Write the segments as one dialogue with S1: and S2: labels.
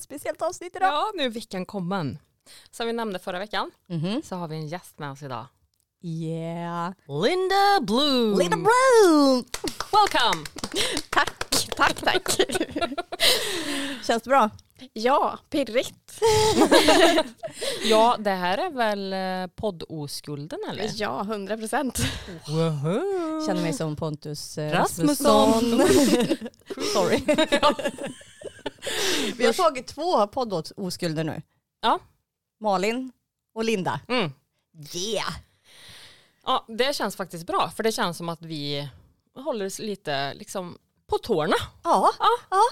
S1: speciellt avsnitt idag.
S2: Ja, nu är veckan kommen. Som vi nämnde förra veckan
S1: Mhm.
S2: så har vi en gäst med oss idag.
S1: Yeah.
S2: Linda Bloom!
S1: Linda Brown!
S2: Welcome!
S3: Tack, tack, tack.
S1: Känns det bra?
S3: ja, pirrigt.
S2: Ja, det här är väl eh, poddoskulden eller?
S3: Ja, hundra procent.
S2: Woho!
S1: Känner mig som Pontus eh,
S2: Rasmusson.
S1: Sorry.
S2: Ja.
S1: Vi har tagit två poddoskulder nu.
S2: Ja.
S1: Malin och Linda.
S2: Mm.
S1: Yeah!
S2: Ja, det känns faktiskt bra för det känns som att vi håller oss lite liksom på tårna,
S1: Ja,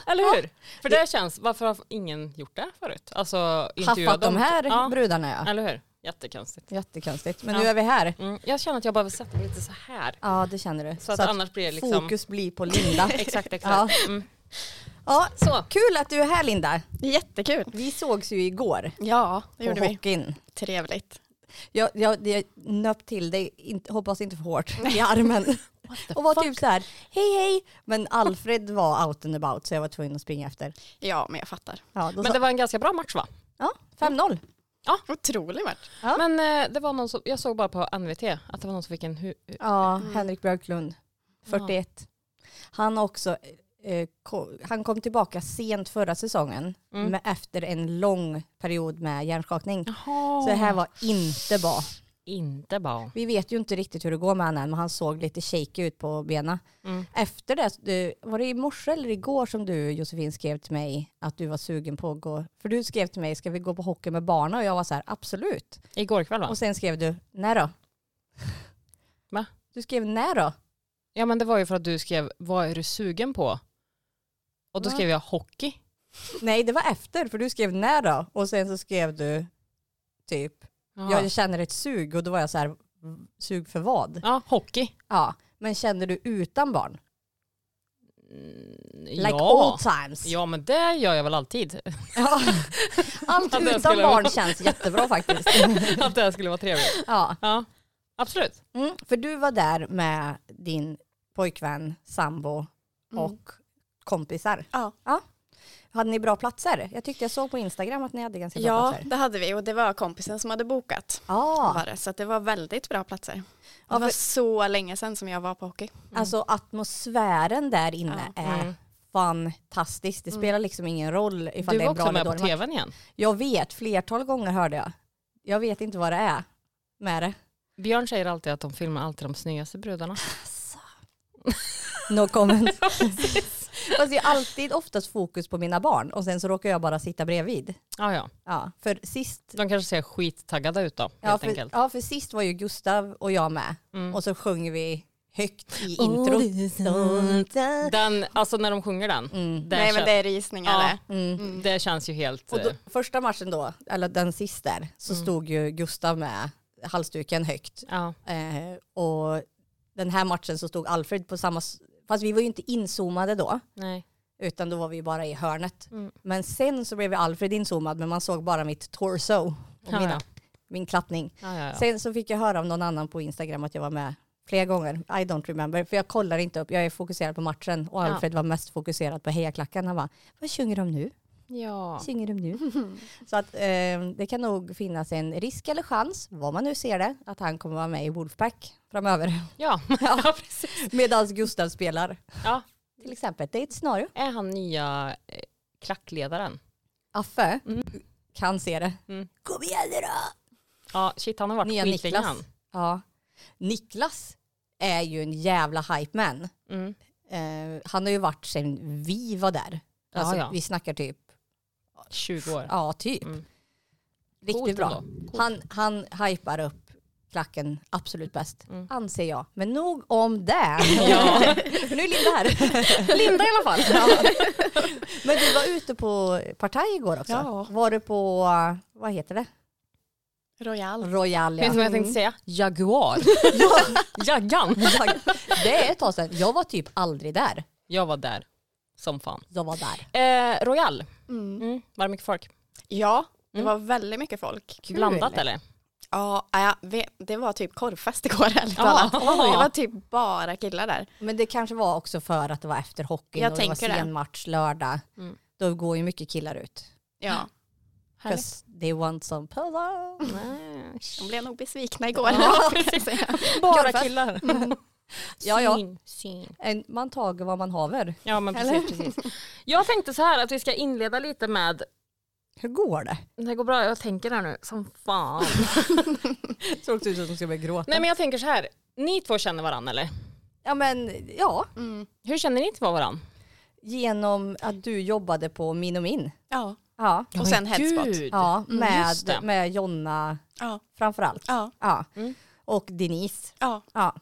S2: eller hur? För det känns, varför har ingen gjort det förut? Alltså intervjuat
S1: haffat de här
S2: ja,
S1: brudarna ja.
S2: eller hur? Jättekonstigt.
S1: Jättekonstigt. Men
S2: Ja.
S1: nu är vi här.
S2: Mm. Jag känner att jag behöver sätta mig lite så här.
S1: Ja, det känner du.
S2: Så att, annars blir det liksom...
S1: fokus blir på Linda.
S2: Exakt, exakt. Mm.
S1: Ja,
S2: Så.
S1: kul att du är här Linda.
S3: Jättekul.
S1: Vi sågs ju igår
S3: Ja, det
S1: på
S3: gjorde vi.
S1: hockeyn.
S3: Trevligt.
S1: Jag, jag, jag nöp till dig, inte, hoppas inte för hårt, i armen. och var typ så här, hej hej. Men Alfred var out and about så jag var tvungen att springa efter.
S3: Ja, men jag fattar.
S1: Ja, då
S2: Men
S1: sa,
S2: det var en ganska bra match va?
S1: ja 5-0.
S3: Otrolig match.
S1: Ja.
S2: Men eh, det var någon som, jag såg bara på NVT att det var någon som fick en hu-
S1: Ja, Henrik Björklund, 41. Han har också, eh, ko- han kom tillbaka sent förra säsongen
S2: Mm.
S1: med, efter en lång period med hjärnskakning.
S2: Jaha.
S1: Så det här var inte bra.
S2: Inte bra.
S1: Vi vet ju inte riktigt hur det går med honom än, men han såg lite shaky ut på benen.
S2: Mm.
S1: Efter det, du, var det i morse eller igår som du Josefin skrev till mig att du var sugen på att gå? För du skrev till mig, ska vi gå på hockey med barnen? Och jag var så här, absolut.
S2: Igår kväll va?
S1: Och sen skrev du, när då?
S2: Va?
S1: Du skrev när då?
S2: Ja men det var ju för att du skrev, vad är du sugen på? Och då
S1: Va?
S2: skrev jag hockey.
S1: Nej, det var efter, för du skrev när då? Och sen så skrev du typ,
S2: Ja,
S1: jag känner ett sug och då var jag så här, sug för vad?
S2: ja hockey.
S1: Ja, men känner du utan barn?
S2: Mm,
S1: Like
S2: ja.
S1: old times.
S2: ja men det gör jag väl alltid.
S1: Ja. Allt
S2: Att det
S1: utan
S2: skulle
S1: barn
S2: vara-
S1: känns jättebra faktiskt.
S2: att det här skulle vara trevligt.
S1: Ja.
S2: Ja. Absolut.
S1: Mm, för du var där med din pojkvän, sambo
S3: Mm.
S1: och kompisar.
S3: Ja.
S1: Hade ni bra platser? Jag tyckte jag såg på Instagram att ni hade ganska bra
S3: Ja,
S1: platser.
S3: det hade vi och det var kompisen som hade bokat.
S1: Ja,
S3: Var det, så att det var väldigt bra platser.
S1: Ja,
S3: Det var
S1: för-
S3: så länge sedan som jag var på hockey.
S1: alltså atmosfären där inne
S3: Ja.
S1: är
S2: Mm.
S1: fantastisk. Det spelar liksom ingen roll ifall
S2: Du
S1: det
S2: var
S1: är
S2: också
S1: bra eller
S2: med på
S1: dålig match.
S2: tvn igen.
S1: Jag vet, flertal gånger hörde jag. Jag vet inte vad det är med det.
S2: Björn säger alltid att de filmar alltid de snyggaste brudarna. Alltså.
S1: No comment. Fast det är alltid oftast fokus på mina barn och sen så råkar jag bara sitta bredvid.
S2: Ja, ja.
S1: Ja, för sist
S2: De kanske ser skittaggade ut då, helt
S1: Ja för,
S2: enkelt.
S1: ja, för sist var ju Gustav och jag med.
S2: Mm.
S1: Och så sjöng vi högt i introt.
S2: Den, alltså när de sjunger den.
S1: Mm.
S2: det
S3: Nej,
S2: kän-
S3: men det är rysningar
S2: Ja.
S3: det.
S1: Mm.
S3: Mm.
S2: Det känns ju helt...
S1: Och
S2: eh,
S1: då, första matchen då, eller den sist där, så
S2: Mm.
S1: stod ju Gustav med halsduken högt.
S2: ja.
S1: Eh, och den här matchen så stod Alfred på samma... s- Fast vi var ju inte inzoomade då,
S2: Nej.
S1: utan då var vi ju bara i hörnet.
S2: Mm.
S1: Men sen så blev ju Alfred inzoomad, men man såg bara mitt torso och
S2: Ja,
S1: mina,
S2: ja.
S1: min klappning.
S2: Ja, ja, ja.
S1: Sen så fick jag höra av någon annan på Instagram att jag var med flera gånger. I don't remember, för jag kollar inte upp. Jag är fokuserad på matchen och
S2: Ja.
S1: Alfred var mest fokuserad på hejaklacken. Han bara, vad sjunger de nu?
S2: ja.
S1: Vad sjunger de nu? så att eh, det kan nog finnas en risk eller chans, vad man nu ser det, att han kommer vara med i Wolfpack framöver.
S2: Ja. ja, precis.
S1: Medan Gustav spelar.
S2: Ja.
S1: Till exempel, det är ett scenario.
S2: Är han nya eh, klackledaren?
S1: Affe
S2: Mm.
S1: kan se det.
S2: Mm.
S1: Kom igen nu då!
S2: Ja, shit han har varit
S1: Nya
S2: skitlänge
S1: Niklas.
S2: han.
S1: Ja. Niklas är ju en jävla hype man.
S2: Mm.
S1: Eh, han har ju varit sedan vi var där.
S2: Ja,
S1: Alltså,
S2: ja.
S1: Vi snackar typ,
S2: 20 år.
S1: ja typ.
S2: Mm.
S1: Riktigt
S2: Coolt
S1: bra.
S2: ändå.
S1: Han, han hypar upp klacken absolut bäst,
S2: Mm.
S1: anser jag. Men nog om det.
S2: Ja.
S1: För nu är Linda här.
S2: Linda i alla fall.
S1: Ja. Men du var ute på partaj igår också.
S3: Ja.
S1: Var du på, vad heter det?
S3: Royal.
S1: Royal
S2: Vet du vad
S1: ja.
S2: jag tänkte säga? Jaguar. Jaggan.
S1: Jag- Det är ett tag sedan. Jag var typ aldrig där.
S2: Jag var där. Som fan.
S1: Jag var där.
S2: Eh, Royal.
S3: Mm.
S2: Mm. Var det mycket folk?
S3: Ja, det
S2: Mm.
S3: var väldigt mycket folk.
S2: Blandat eller?
S3: Ja, jag vet, det var typ korvfest igår eller
S2: Ja.
S3: ja. Det var typ bara killar där.
S1: Men det kanske var också för att det var efter hockeyn
S3: Jag
S1: och det var
S3: tänker det.
S1: sen match lördag.
S2: Mm.
S1: Då går ju mycket killar ut.
S3: Ja,
S2: Härligt.
S1: Because they want some pillow.
S3: de blev nog besvikna igår.
S2: Ja, Bara
S3: Korvfest.
S2: killar.
S1: Ja, ja.
S2: Mm. Syn, syn.
S1: En- Man tager vad man haver.
S2: Ja, men
S1: Eller?
S2: precis, precis. Jag tänkte så här att vi ska inleda lite med,
S1: Hur går det?
S2: det går bra, jag tänker här nu som fan.
S1: Såg typ ut som att ska börja gråta.
S2: Nej men jag tänker så här, ni två känner varandra eller?
S1: Ja men ja,
S3: Mm.
S2: Hur känner ni två varandra?
S1: genom att du jobbade på Min och Min.
S3: Ja.
S1: Ja,
S3: Och sen headspot.
S1: ja
S3: Mm,
S2: just det.
S1: med, med Jonna
S3: Ja.
S1: framförallt.
S3: Ja.
S1: Ja.
S2: Mm.
S1: Och Denise.
S3: Ja.
S1: Ja.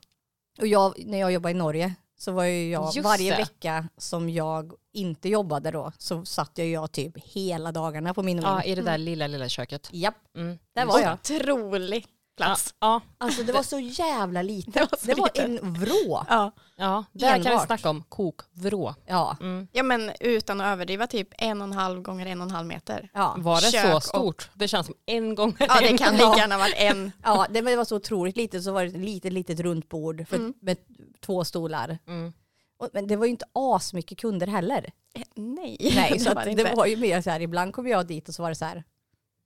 S1: Och jag, när jag jobbade i Norge så var ju jag
S2: Just
S1: varje
S2: det.
S1: vecka som jag inte jobbade då så satt jag, jag typ hela dagarna på min och
S2: Ja,
S1: min.
S2: i det där lilla, lilla köket.
S1: Japp,
S2: Mm.
S1: där var jag.
S3: Otrolig plats.
S2: Ja,
S1: Alltså det var så jävla lite.
S3: Det var, så
S1: Det var
S3: lite.
S1: en vrå.
S3: Ja.
S2: ja. där kan vi
S1: Enbart.
S2: snacka om kokvrå.
S1: Ja.
S2: Mm.
S3: ja men utan att överdriva typ en och en halv gånger en och en halv meter.
S1: Ja.
S2: Var det
S3: Kök
S2: så
S3: och-
S2: stort? Det känns som en gång.
S3: Ja det kan lika gärna varit en.
S1: Ja, det, men det var så otroligt litet så var det ett litet, litet runt bord för, med två stolar.
S2: Mm.
S1: Och, men det var ju inte asmycket kunder heller.
S3: Eh, Nej.
S1: Nej, så
S3: var
S1: att
S3: det
S1: det,
S3: inte.
S1: var ju mer så här, ibland kom jag dit och så var det så här,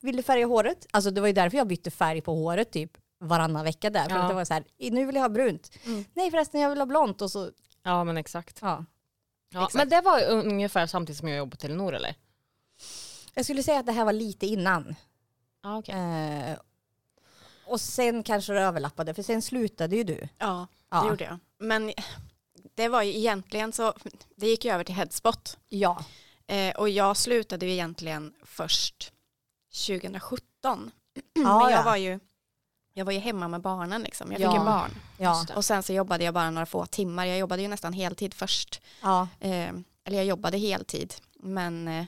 S1: vill du färga håret? Alltså det var ju därför jag bytte färg på håret typ varannan vecka där. För
S2: Ja.
S1: att det var så här, nu vill jag ha brunt.
S3: Mm.
S1: Nej förresten jag vill ha blont och så,
S2: Ja, men exakt.
S1: ja.
S2: Ja, men det var ungefär samtidigt som jag jobbade på Telenor eller?
S1: Jag skulle säga att det här var lite innan.
S2: Ja, okej.
S1: Eh, och sen kanske det överlappade för sen slutade ju du.
S3: Ja det
S1: Ja.
S3: gjorde jag. Men det var ju egentligen så, det gick ju över till headspot.
S1: Ja.
S3: Eh, och jag slutade ju egentligen först 2017.
S1: Ja,
S3: men jag
S1: ja.
S3: var ju jag var ju hemma med barnen liksom. Jag fick
S1: Ja.
S3: ju barn.
S1: Ja.
S3: Och sen så jobbade jag bara några få timmar. Jag jobbade ju nästan heltid först.
S1: ja.
S3: Eh, eller jag jobbade heltid. Men eh,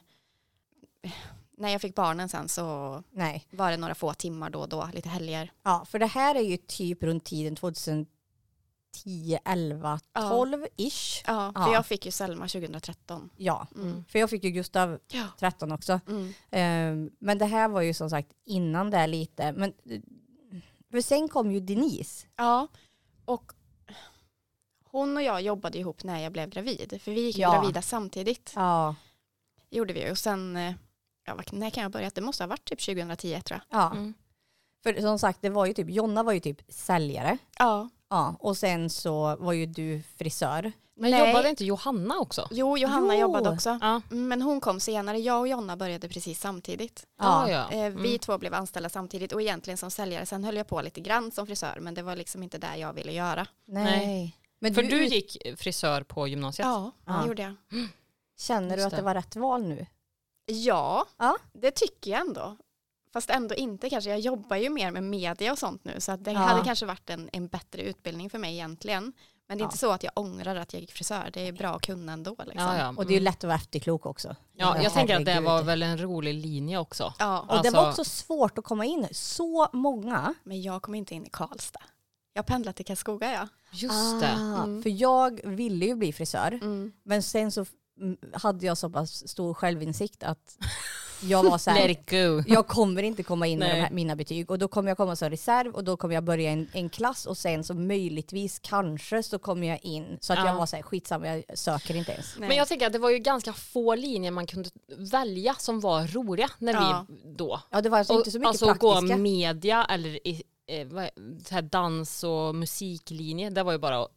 S3: när jag fick barnen sen så
S1: Nej.
S3: var det några få timmar då och då, lite helger.
S1: Ja, för det här är ju typ runt tiden 2010, 11,
S3: Ja.
S1: 12 ish.
S3: Ja, för
S1: Ja.
S3: jag fick ju Selma 2013.
S1: Ja,
S3: Mm.
S1: för jag fick ju Gustav
S3: Ja.
S1: 13 också.
S3: Mm.
S1: Ehm, men det här var ju som sagt innan det här lite. Men, för sen kom ju Denise.
S3: ja, och hon och jag jobbade ihop när jag blev gravid. För vi gick ju
S1: Ja.
S3: gravida samtidigt.
S1: Ja.
S3: gjorde vi ju. Och sen, eh, ja, vad- när kan jag börja? Det måste ha varit typ 2010 tror jag.
S1: ja.
S2: Mm.
S1: För som sagt, det var ju typ, Jonna var ju typ säljare.
S3: Ja.
S1: Ja, och sen så var ju du frisör.
S2: Men
S3: Nej.
S2: jobbade inte Johanna också?
S3: Jo, Johanna
S1: Jo.
S3: jobbade också.
S2: Ja.
S3: Mm, Men hon kom senare. Jag och Jonna började precis samtidigt.
S2: Ja, ja.
S3: Eh, Vi
S2: Mm.
S3: två blev anställda samtidigt och egentligen som säljare. Sen höll jag på lite grann som frisör men det var liksom inte där jag ville göra.
S1: Nej.
S2: Nej.
S1: Men
S2: För
S1: du,
S2: du gick frisör på gymnasiet?
S3: Ja, det
S1: Ja.
S3: gjorde jag.
S1: känner du
S2: Just
S1: att det
S2: det.
S1: var rätt val nu?
S3: Ja,
S1: Ja.
S3: det tycker jag ändå. Fast ändå inte kanske. Jag jobbar ju mer med media och sånt nu så att det
S1: Ja.
S3: hade kanske varit en, en bättre utbildning för mig egentligen. Men det är
S1: Ja.
S3: inte så att jag ångrar att jag gick frisör. Det är bra att kunna ändå. Liksom.
S2: Ja, ja.
S1: Och det är ju
S2: Mm.
S1: lätt att vara efterklok också.
S2: ja, jag tänker att det
S1: herregud.
S2: var väl en rolig linje också.
S3: Ja,
S1: Och det
S2: Alltså-
S1: var också svårt att komma in. Så många.
S3: men jag kom inte in i Karlstad. Jag pendlade till Karlskoga ja.
S2: Just det.
S3: Mm.
S1: För jag ville ju bli frisör.
S2: Mm.
S1: Men sen så mm, hade jag så pass stor självinsikt att jag var så
S2: Let
S1: här,
S2: it go.
S1: jag kommer inte komma in med
S2: Nej.
S1: de här, mina betyg och då kommer jag komma som reserv och då kommer jag börja en, en klass och sen så möjligtvis kanske så kommer jag in. Så att
S2: Ja.
S1: jag var så här, skitsamma jag söker inte ens.
S3: Nej.
S2: Men jag tänker att det var ju ganska få linjer man kunde välja som var roliga när
S3: Ja.
S2: vi då.
S1: Ja det var alltså inte så mycket
S2: alltså gå
S1: praktiska.
S2: media eller i, eh, vad, så här dans och musiklinje, det var ju bara att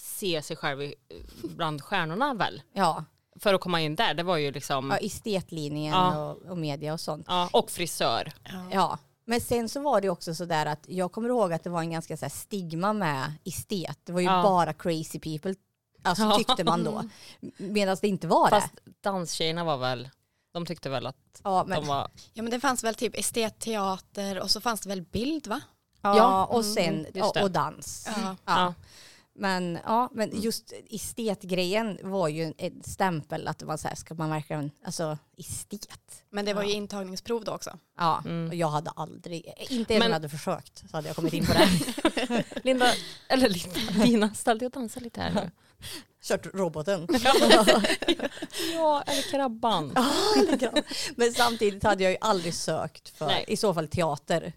S2: se sig själv i, eh, bland stjärnorna väl.
S1: Ja,
S2: För att komma in där, det var ju liksom,
S1: ja
S2: ja,
S1: estetlinjen
S2: Ja.
S1: och, och media och sånt.
S2: och frisör.
S3: ja.
S1: Ja. Men sen så var det ju också så där att jag kommer ihåg att det var en ganska så här stigma med estet. Det var ju
S2: Ja.
S1: bara crazy people alltså,
S2: Ja.
S1: tyckte man då. Medan det inte var det.
S2: Fast danstjejerna var väl, de tyckte väl att
S1: Ja, men,
S2: de var,
S3: ja men det fanns väl typ estetteater och så fanns det väl bild va?
S1: ja,
S2: Ja, Mm,
S1: och sen
S2: just
S1: och,
S2: det.
S1: och dans.
S3: Ja.
S1: Ja.
S2: Ja.
S1: Men, ja,
S2: Mm.
S1: men just estetgrejen var ju en stämpel att det var så här, ska man verkligen, alltså estet.
S3: Men det var ju intagningsprov då också.
S1: Ja,
S2: Mm.
S1: och jag hade aldrig, inte ens om
S2: Men-
S1: jag hade försökt så hade jag kommit in på det. här.
S2: Linda, eller Linda, Lina, ställ dig och dansa lite här nu.
S1: Kört roboten.
S2: Ja, eller krabban.
S1: men samtidigt hade jag ju aldrig sökt för,
S2: Nej.
S1: i så fall teater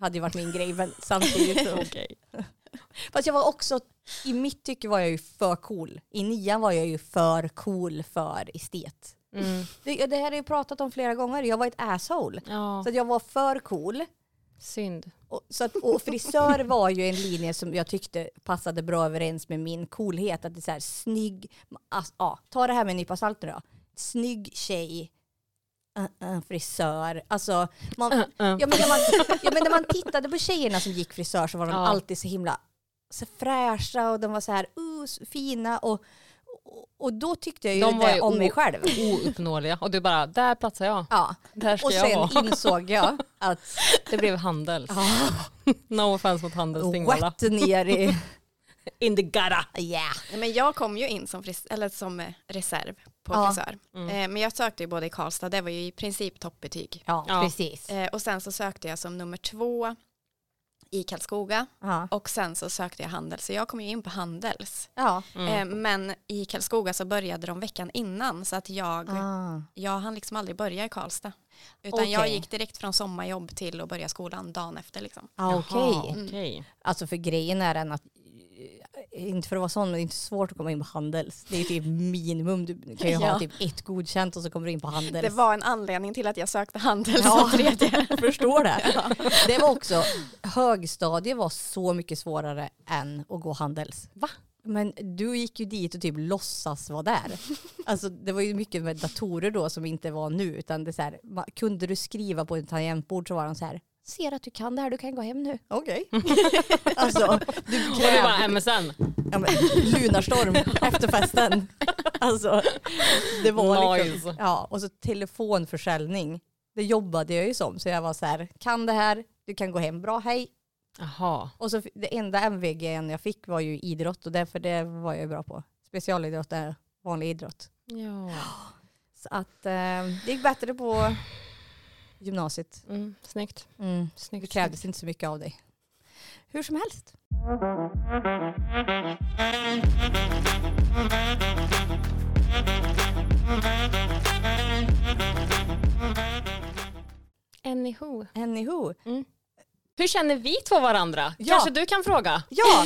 S1: hade ju varit min grej. Men samtidigt så.
S2: Okej.
S1: Fast jag var också, i mitt tycke var jag ju för cool. I nian var jag ju för cool för estet.
S2: Mm.
S1: Det, det här har jag pratat om flera gånger. Jag var ett asshole.
S2: Ja,
S1: Så att jag var för cool.
S2: synd.
S1: Och, så att, och frisör var ju en linje som jag tyckte passade bra överens med min coolhet. Att det är så här snygg, ass, ja, ta det här med en nypa salt nu då. Snygg tjej, uh, uh, frisör. Alltså, man,
S2: Äh, äh.
S1: ja, men när man, ja, men när man tittade på tjejerna som gick frisör så var de
S2: Ja.
S1: alltid så himla så fräscha och de var så här uh, så fina och, och, och då tyckte jag ju
S2: De var
S1: det
S2: ju
S1: om mig
S2: o-
S1: själv.
S2: Ouppnåeliga. Och du bara, där platsar jag.
S1: Ja.
S2: Där ska
S1: Och
S2: jag
S1: sen
S2: vara.
S1: insåg jag att
S2: Det blev Handels.
S1: ja,
S2: No offense mot Handels Tingvalla.
S1: what ner i...
S2: In the gutter.
S1: Yeah.
S3: Nej, men jag kom ju in som, fris- eller som eh, reserv på
S1: Ja.
S3: frisör. Eh, men jag sökte ju både i Karlstad, det var ju i princip toppbetyg.
S1: Ja,
S2: Ja.
S1: precis.
S3: Eh, och sen så sökte jag som nummer två i Karlskoga
S1: Ja.
S3: och sen så sökte jag Handels. Så jag kom ju in på Handels.
S1: ja.
S3: Eh, men i Karlskoga så började de veckan innan så att jag,
S1: Ah.
S3: jag hann liksom aldrig börja i Karlstad. Utan jag
S1: Okej.
S3: gick direkt från sommarjobb till att börja skolan dagen efter liksom.
S1: Ah, Okej.
S2: Jaha, okej. Mm.
S1: Alltså för grejen är den att, eh, inte för att vara sån, men det är inte svårt att komma in på Handels. Det är typ minimum. Du kan ju
S3: Ja.
S1: ha typ ett godkänt och så kommer du in på Handels.
S3: Det var en anledning till att jag sökte Handels
S1: liksom- Ja.
S3: som tredje.
S1: Jag förstår det. Det var också, högstadiet var så mycket svårare än att gå Handels.
S2: Va?
S1: Men du gick ju dit och typ låtsas vara där. Alltså det var ju mycket med datorer då som inte var nu utan det är så här, ma- kunde du skriva på ett tangentbord så var de så här, ser att du kan det här, du kan gå hem nu. Okej. alltså, du
S2: Och du
S1: krävde,
S2: bara MSN.
S1: ja, men, lunarstorm efter festen. Alltså, det var liksom,
S2: Nice.
S1: ja, och så telefonförsäljning. Det jobbade jag ju som, så jag var så här, kan det här, du kan gå hem, bra, hej.
S2: Jaha.
S1: Och så f- det enda MVG jag fick var ju idrott och därför det var jag bra på. Specialidrott är vanlig idrott.
S2: Ja.
S1: Så att eh, det gick bättre på gymnasiet.
S2: Mm, snyggt. snyggt.
S1: Det krävdes inte så mycket av dig. Hur som helst.
S2: Anywho.
S1: Anywho.
S2: Hur känner vi två varandra?
S1: Ja.
S2: Kanske du kan fråga?
S1: Ja!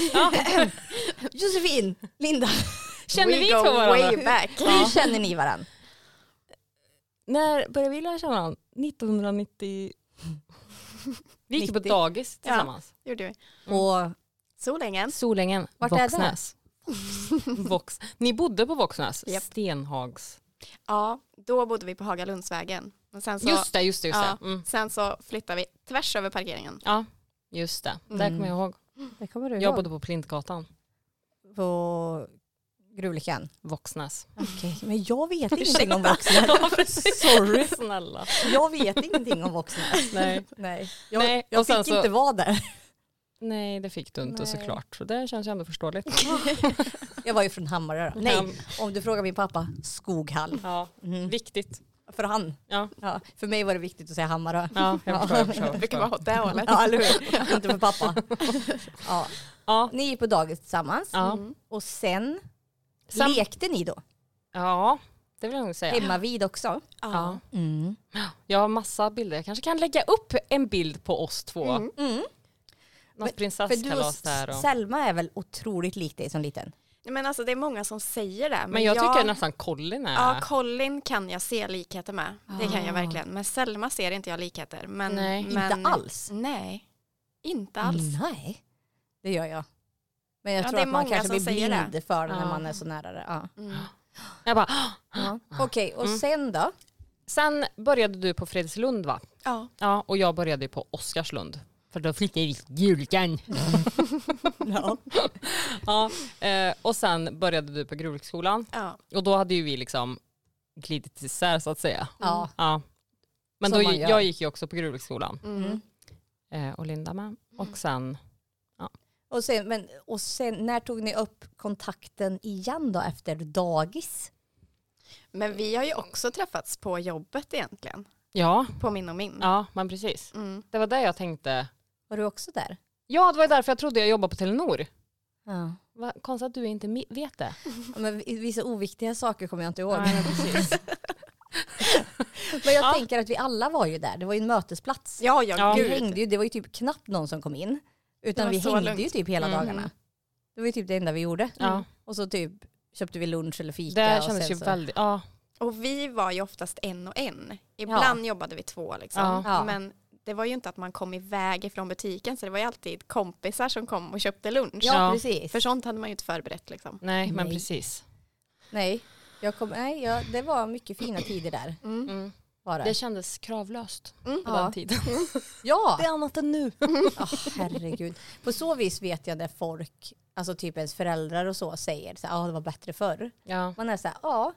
S1: Josefin, Linda,
S2: Känner
S3: We
S2: vi
S3: go
S2: två varandra?
S3: way back.
S1: hur känner ni varandra?
S2: När började vi lära känna varandra? 1990... Vi gick på
S1: 90.
S2: dagis
S3: Ja.
S2: tillsammans.
S3: Gjorde vi.
S1: Och
S3: Solängen.
S2: Solängen,
S1: Vart är det?
S2: Våxnäs. Vox. Ni bodde på Våxnäs?
S3: Japp.
S2: Stenhags.
S3: Ja, då bodde vi på Hagalundsvägen. Men sen så,
S2: Just det, just det. Just
S3: Alltså- ja,
S2: det. Mm.
S3: sen så flyttade vi tvärs över parkeringen.
S2: Ja, just det. Där
S1: Mm.
S2: kommer jag ihåg.
S1: det kommer du
S2: Jag bodde på Plintgatan,
S1: på Gruvlyckan.
S2: Våxnäs.
S1: Okej, men jag vet ingenting om vuxna.
S2: Ja, precis.
S1: Sorry.
S2: Snälla.
S1: Jag vet ingenting om vuxna.
S2: Nej.
S1: Nej, jag,
S2: Nej, och
S1: jag
S2: sen
S1: fick
S2: så-
S1: inte vara där.
S2: Nej, det fick du inte
S1: Nej.
S2: såklart. Så det känns ju ändå förståeligt.
S1: Jag var ju från Hammarö. då. Nej,
S2: Ja.
S1: om du frågar min pappa, Skoghall.
S2: Ja,
S1: Mm.
S2: viktigt.
S1: För han.
S2: Ja,
S1: Ja, för mig var det viktigt att säga Hammarö.
S2: ja jag förstår. Jag förstår,
S3: Det
S2: jag
S3: brukar vara
S2: förstår.
S3: åt det hållet.
S1: Ja, eller hur? Inte för pappa. Ja.
S2: Ja,
S1: Ni gick på dagis tillsammans
S2: ja.
S3: Mm.
S1: och sen
S2: Sam-
S1: lekte ni då?
S2: ja, det vill jag nog säga.
S1: Hemma vid också?
S2: Ja.
S1: Mm.
S2: Jag har massa bilder. Jag kanske kan lägga upp en bild på oss två.
S3: Mm.
S2: Något
S1: För du och
S2: prinsesskalas där. Och...
S1: Selma är väl otroligt lik dig som liten?
S3: Nej, Men alltså det är många som säger det. Men,
S2: Men jag tycker nästan Colin är...
S3: Ja, Colin kan jag se likheter med. Det kan jag verkligen. Men Selma ser inte jag likheter. Men,
S2: Nej.
S3: men,
S1: Inte alls?
S3: Nej, inte alls.
S1: Nej, det gör jag. Men jag
S3: Ja,
S1: tror
S3: det är
S1: att man
S3: många
S1: kanske
S3: som
S1: blir
S3: säger det.
S1: blind för det när
S2: Ja.
S1: man är så nära det. Ja.
S3: Mm.
S2: jag bara, "Åh!"
S1: Okej, och sen då?
S2: Sen började du på Fredrikslund va?
S3: Ja.
S2: Ja, och jag började ju på Oskarslund. För då flyttade vi till Julkan.
S1: Ja.
S2: Ja, eh, och sen började du på Gruvskolan.
S3: Ja.
S2: Och då hade ju vi liksom glidit isär så att säga.
S1: ja.
S2: Ja. Men
S1: Som
S2: då,
S1: man
S2: gi-
S1: gör.
S2: jag gick ju också på Gruvskolan.
S3: Mm.
S1: Mm.
S2: Eh, och Linda med. Och sen,
S1: Och, sen, men, och sen, när tog ni upp kontakten igen då efter dagis?
S3: Men vi har ju också träffats på jobbet egentligen.
S2: ja,
S3: På min och min.
S2: ja men precis.
S3: Mm.
S2: Det var det jag tänkte.
S1: Var du också där?
S2: Ja, det var ju därför jag trodde jag jobbade på Telenor.
S1: Ja.
S2: Vad konstigt att du inte mi- vet det.
S1: Men v- vissa oviktiga saker kommer jag inte ihåg.
S2: Nej, men precis.
S1: Men jag
S2: Ja.
S1: tänker att vi alla var ju där. Det var ju en mötesplats.
S3: Ja, ja,
S2: Ja.
S1: Vi
S3: gud.
S1: hängde ju, det var ju typ knappt någon som kom in.
S3: Det
S1: Utan
S3: var
S1: vi
S3: så
S1: hängde ju
S3: lugnt.
S1: typ hela
S2: Mm.
S1: dagarna. Det var ju typ det enda vi gjorde.
S2: Ja.
S1: Och så typ köpte vi lunch eller fika.
S2: Det
S1: och
S2: kändes
S1: sen
S2: ju
S1: så-
S2: väldigt, ja
S3: Och vi var ju oftast en och en. Ibland jobbade vi två liksom.
S1: Ja.
S3: Men det var ju inte att man kom iväg ifrån butiken så det var ju alltid kompisar som kom och köpte lunch.
S2: Ja.
S1: precis.
S3: För sånt hade man ju inte förberett liksom.
S2: Nej, men
S1: Nej.
S2: precis.
S1: Nej, jag kom, nej jag, det var mycket fina tider där.
S3: Mm.
S2: Mm.
S1: Var det.
S2: Det kändes kravlöst på
S1: Ja.
S2: den tiden.
S1: Ja,
S2: är annat än nu.
S1: Ja, herregud. På så vis vet jag när folk, alltså typ ens föräldrar och så säger så här, ah, det var bättre förr.
S2: Ja.
S1: Man är så här, ja.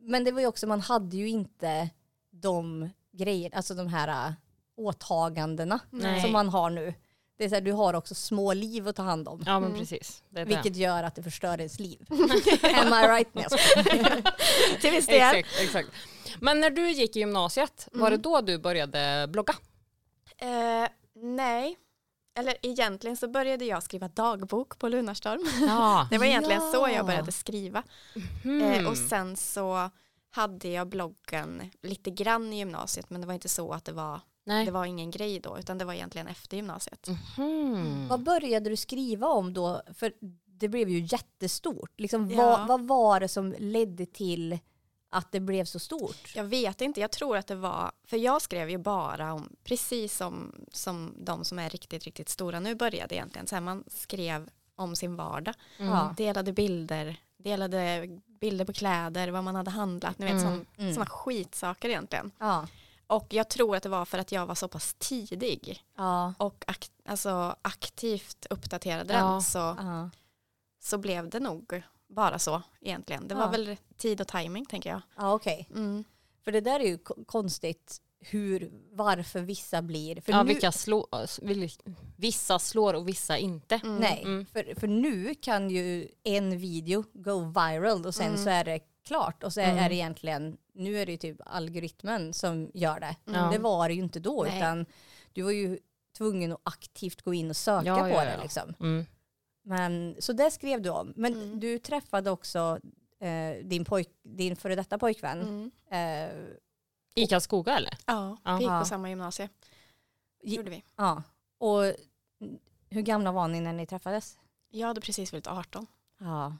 S1: Men det var ju också, man hade ju inte de grejerna, alltså de här äh, åtagandena
S2: Nej.
S1: som man har nu. Det är så här, du har också små liv att ta hand om.
S2: ja, men
S3: Mm.
S2: precis. Det är det.
S1: Vilket gör att det förstör ens liv. Am I right? Nej, jag skojar.
S3: Till viss del.
S2: Exakt, exakt. Men när du gick i gymnasiet, var det
S3: Mm.
S2: då du började blogga?
S3: Eh, nej. Eller egentligen så började jag skriva dagbok på Lunarstorm.
S2: Ja. Mm.
S3: Det var egentligen så
S1: Ja.
S3: jag började skriva.
S2: Hmm.
S3: Eh, och sen så hade jag bloggen lite grann i gymnasiet men det var inte så att det var,
S2: Nej.
S3: det var ingen grej då utan det var egentligen efter gymnasiet.
S2: Mhm.
S1: Vad började du skriva om då? För det blev ju jättestort. Liksom,
S3: Ja.
S1: vad, vad var det som ledde till att det blev så stort?
S3: Jag vet inte, jag tror att det var, för jag skrev ju bara om, precis som, som de som är riktigt, riktigt stora nu började egentligen, så här, man skrev om sin vardag,
S2: Mm.
S1: Ja.
S3: delade bilder, delade bilder på kläder, vad man hade handlat, ni vet
S2: Mm,
S3: sån,
S1: mm.
S3: såna skitsaker egentligen.
S1: Ja.
S3: Och jag tror att det var för att jag var så pass tidig
S1: Ja.
S3: och ak- alltså aktivt uppdaterade
S2: Ja.
S3: den så,
S1: ja.
S3: så blev det nog bara så egentligen. Det var
S1: Ja.
S3: väl tid och timing tänker jag.
S1: Ja okej.
S3: Mm.
S1: För det där är ju ko- konstigt hur, varför vissa blir. För
S2: ja,
S1: nu,
S2: vilka slå, vil- vissa slår och vissa inte.
S3: Mm.
S1: Nej,
S2: Mm.
S1: för, för nu kan ju en video go viral och sen
S3: Mm.
S1: så är det klart och så är,
S2: Mm.
S1: är det egentligen, nu är det ju typ algoritmen som gör det.
S2: Mm. Ja.
S1: Det var det ju inte då
S3: Nej.
S1: utan du var ju tvungen att aktivt gå in och söka
S2: Ja,
S1: på
S2: ja,
S1: det
S2: ja.
S1: liksom.
S2: Mm.
S1: Men, så det skrev du om. Men
S3: Mm.
S1: du träffade också eh, din, pojk, din före detta pojkvän.
S3: Mm.
S1: Eh,
S2: I Karlskoga eller?
S3: Ja,
S2: Ja.
S3: vi gick
S1: Ja.
S3: på samma gymnasie.
S1: Gi-
S3: Gjorde vi.
S1: Ja. Och hur gamla var ni när ni träffades?
S3: Jag hade precis blivit 18
S1: Ja.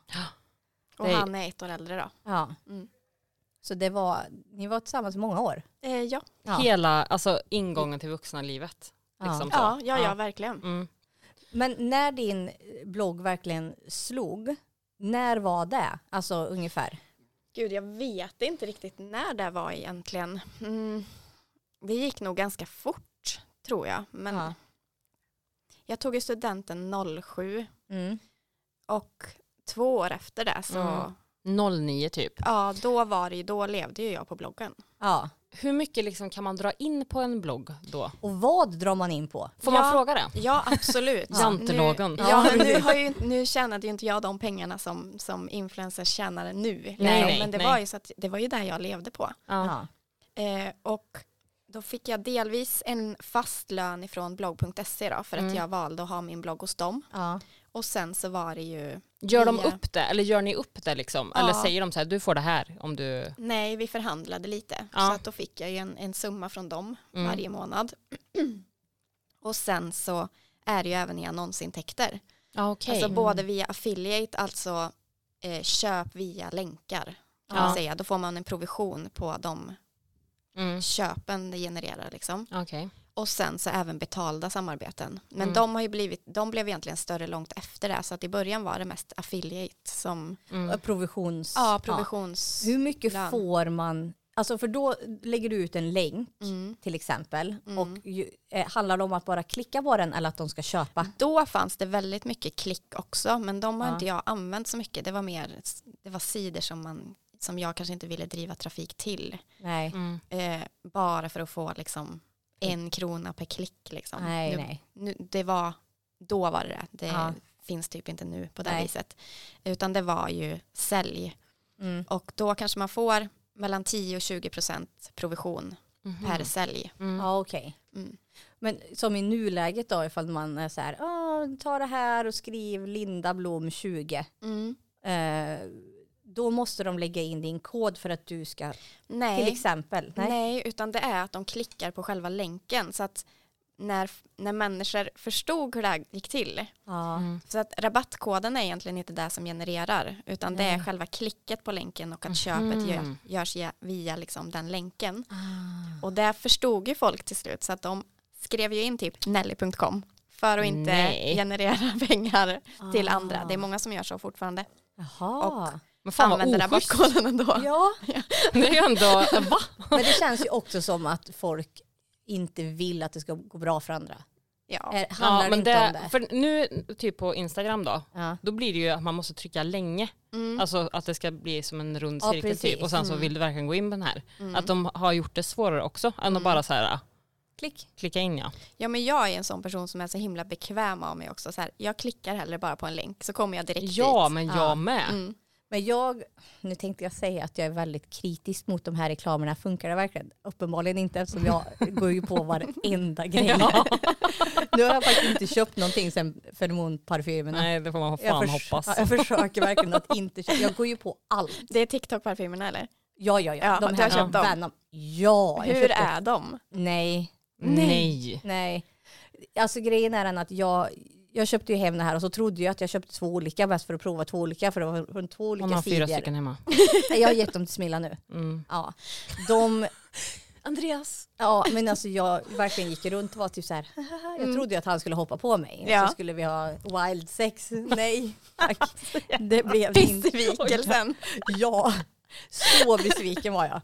S3: och
S2: Det är-
S3: han är ett år äldre då.
S1: ja.
S3: Mm.
S1: Så det var, ni var tillsammans i många år?
S3: Eh, ja.
S1: Ja.
S2: Hela alltså, ingången till vuxna livet. Liksom så.
S3: Ja, ja, ja,
S2: Ja.
S3: verkligen.
S2: Mm.
S1: Men när din blogg verkligen slog, när var det? Alltså ungefär?
S3: Gud, jag vet inte riktigt när det var egentligen. Mm. Det gick nog ganska fort tror jag. Men
S1: Ja.
S3: jag tog ju studenten 07
S1: Mm.
S3: och två år efter det så
S2: Mm. 09 typ.
S3: Ja, då var det ju, då levde ju jag på bloggen.
S1: Ja.
S2: Hur mycket liksom kan man dra in på en blogg då?
S1: Och vad drar man in på?
S2: Får
S3: Ja.
S2: man fråga det?
S3: Ja, absolut.
S2: Jantelagen.
S3: Nu, ja, men nu, har ju, nu tjänade ju inte jag de pengarna som, som influencers tjänar nu. liksom.
S2: nej,
S3: men det,
S2: nej.
S3: Var ju så att, det var ju där jag levde på.
S1: Ja.
S3: Eh, och då fick jag delvis en fast lön ifrån blogg.se då, för att
S2: Mm.
S3: jag valde att ha min blogg hos dem.
S1: Ja.
S3: Och sen så var det ju,
S2: Gör de
S3: Ja.
S2: upp det eller gör ni upp det liksom?
S3: Ja.
S2: Eller säger de så här, du får det här om du... Mm.
S3: nej vi förhandlade lite.
S2: Ja.
S3: Så att då fick jag ju en, en summa från dem
S2: Mm.
S3: varje månad. och sen så är det ju även i annonsintäkter.
S2: Ja okej.
S3: Alltså både via affiliate, alltså eh, köp via länkar. Kan man
S2: Ja.
S3: säga. Då får man en provision på de
S2: mm.
S3: köpen det genererar. Liksom.
S2: Okej.
S3: Och sen så även betalda samarbeten. Men
S2: Mm.
S3: de, har ju blivit, de blev egentligen större långt efter det. Så att i början var det mest affiliate som
S2: Mm.
S1: Provisions...
S3: ja, provisions...
S1: Hur mycket
S3: lön.
S1: får man? Alltså för då lägger du ut en länk
S3: Mm.
S1: till exempel.
S3: Mm.
S1: Och ju, eh, handlar det om att bara klicka på den eller att de ska köpa?
S3: Då fanns det väldigt mycket klick också. Men de har
S1: Ja.
S3: inte jag använt så mycket. Det var mer det var sidor som, man, som jag kanske inte ville driva trafik till.
S1: Nej.
S2: Mm.
S3: eh, bara för att få liksom en krona per klick. Liksom.
S1: Nej,
S3: nu,
S1: nej.
S3: Nu, det var, då var det det. Det
S1: Ja.
S3: finns typ inte nu på det
S1: Nej.
S3: viset. Utan det var ju sälj.
S1: Mm.
S3: Och då kanske man får mellan 10 och 20 procent provision
S2: Mhm.
S3: per sälj.
S2: Mm.
S1: Mm-hmm. Ja okej.
S3: Mm.
S1: Men som i nuläget då ifall man är så här, "Ah, ta det här och skriv Linda Blom 20.
S3: Mm.
S1: Eh, då måste de lägga in din kod för att du ska, till liksom-
S3: Nej.
S1: exempel.
S3: Nej. utan det är att de klickar på själva länken. Så att när, när människor förstod hur det här gick till.
S1: Ja.
S2: Mm.
S3: Så att rabattkoden är egentligen inte det som genererar utan det är själva klicket på länken och att köpet gör,
S2: Mhm.
S3: görs ge- via liksom den länken.
S2: Ah.
S3: Och det förstod ju folk till slut så att de skrev ju in typ Nelly.com för att inte
S2: Nej.
S3: generera pengar till
S1: Ah.
S3: andra. Det är många som gör så fortfarande.
S1: Jaha.
S2: Men fan vad
S3: Använder
S2: oschysst.
S3: rabattkoden ändå.
S1: Ja.
S2: Det är ju ändå, va?
S1: Men det känns ju också som att folk inte vill att det ska gå bra för andra.
S3: Ja.
S1: Är, handlar det
S2: men
S1: inte om det?
S2: För nu, typ på Instagram då,
S1: Ja.
S2: då blir det ju att man måste trycka länge.
S3: Mm.
S2: Alltså att det ska bli som en rund
S1: Ja,
S2: cirkel
S1: precis.
S2: typ. Och sen så
S1: Mm. Mm.
S2: vill du verkligen gå in på den här.
S3: Mm.
S2: Att de har gjort det svårare också än att bara så här, ah,
S1: Klick.
S2: klicka in ja.
S3: ja men jag är en sån person som är så himla bekväm av mig också. Så här, jag klickar hellre bara på en länk så kommer jag direkt
S2: Ja
S3: dit.
S2: men
S1: Ja.
S2: jag med.
S3: Mm.
S1: Men jag, nu tänkte jag säga att jag är väldigt kritisk mot de här reklamerna. Funkar det verkligen? Uppenbarligen inte eftersom jag går ju på varenda grej. Nu har jag faktiskt inte köpt någonting sen feromonparfymerna.
S2: Nej det får man
S1: jag,
S2: fan
S1: förs-
S2: hoppas.
S1: Ja, jag försöker verkligen att inte köpa. Jag går ju på allt.
S3: Det är TikTok-parfymerna eller?
S1: Ja, ja, ja.
S3: Ja, du har köpt dem.
S1: Venom. Ja, jag
S3: Hur
S1: köpte-
S3: är de?
S1: Nej,
S2: Nej.
S1: nej. Alltså grejen är den att jag, jag köpte ju hem det här och så trodde jag att jag köpte två olika mest för att prova två olika för det var från två
S2: Hon
S1: olika
S2: har fyra
S1: sidor.
S2: stycken hemma.
S1: Jag har gett dem till Smilla nu.
S2: Mm.
S1: Ja. De,
S2: Andreas.
S1: ja, men alltså jag verkligen gick runt och var typ så här.
S3: Mm.
S1: "Haha." Jag trodde ju att han skulle hoppa på mig.
S3: Ja.
S1: Så skulle vi ha wild sex. Nej, tack. Det blev det inte.
S3: Besvikelsen.
S1: Ja, så besviken var jag.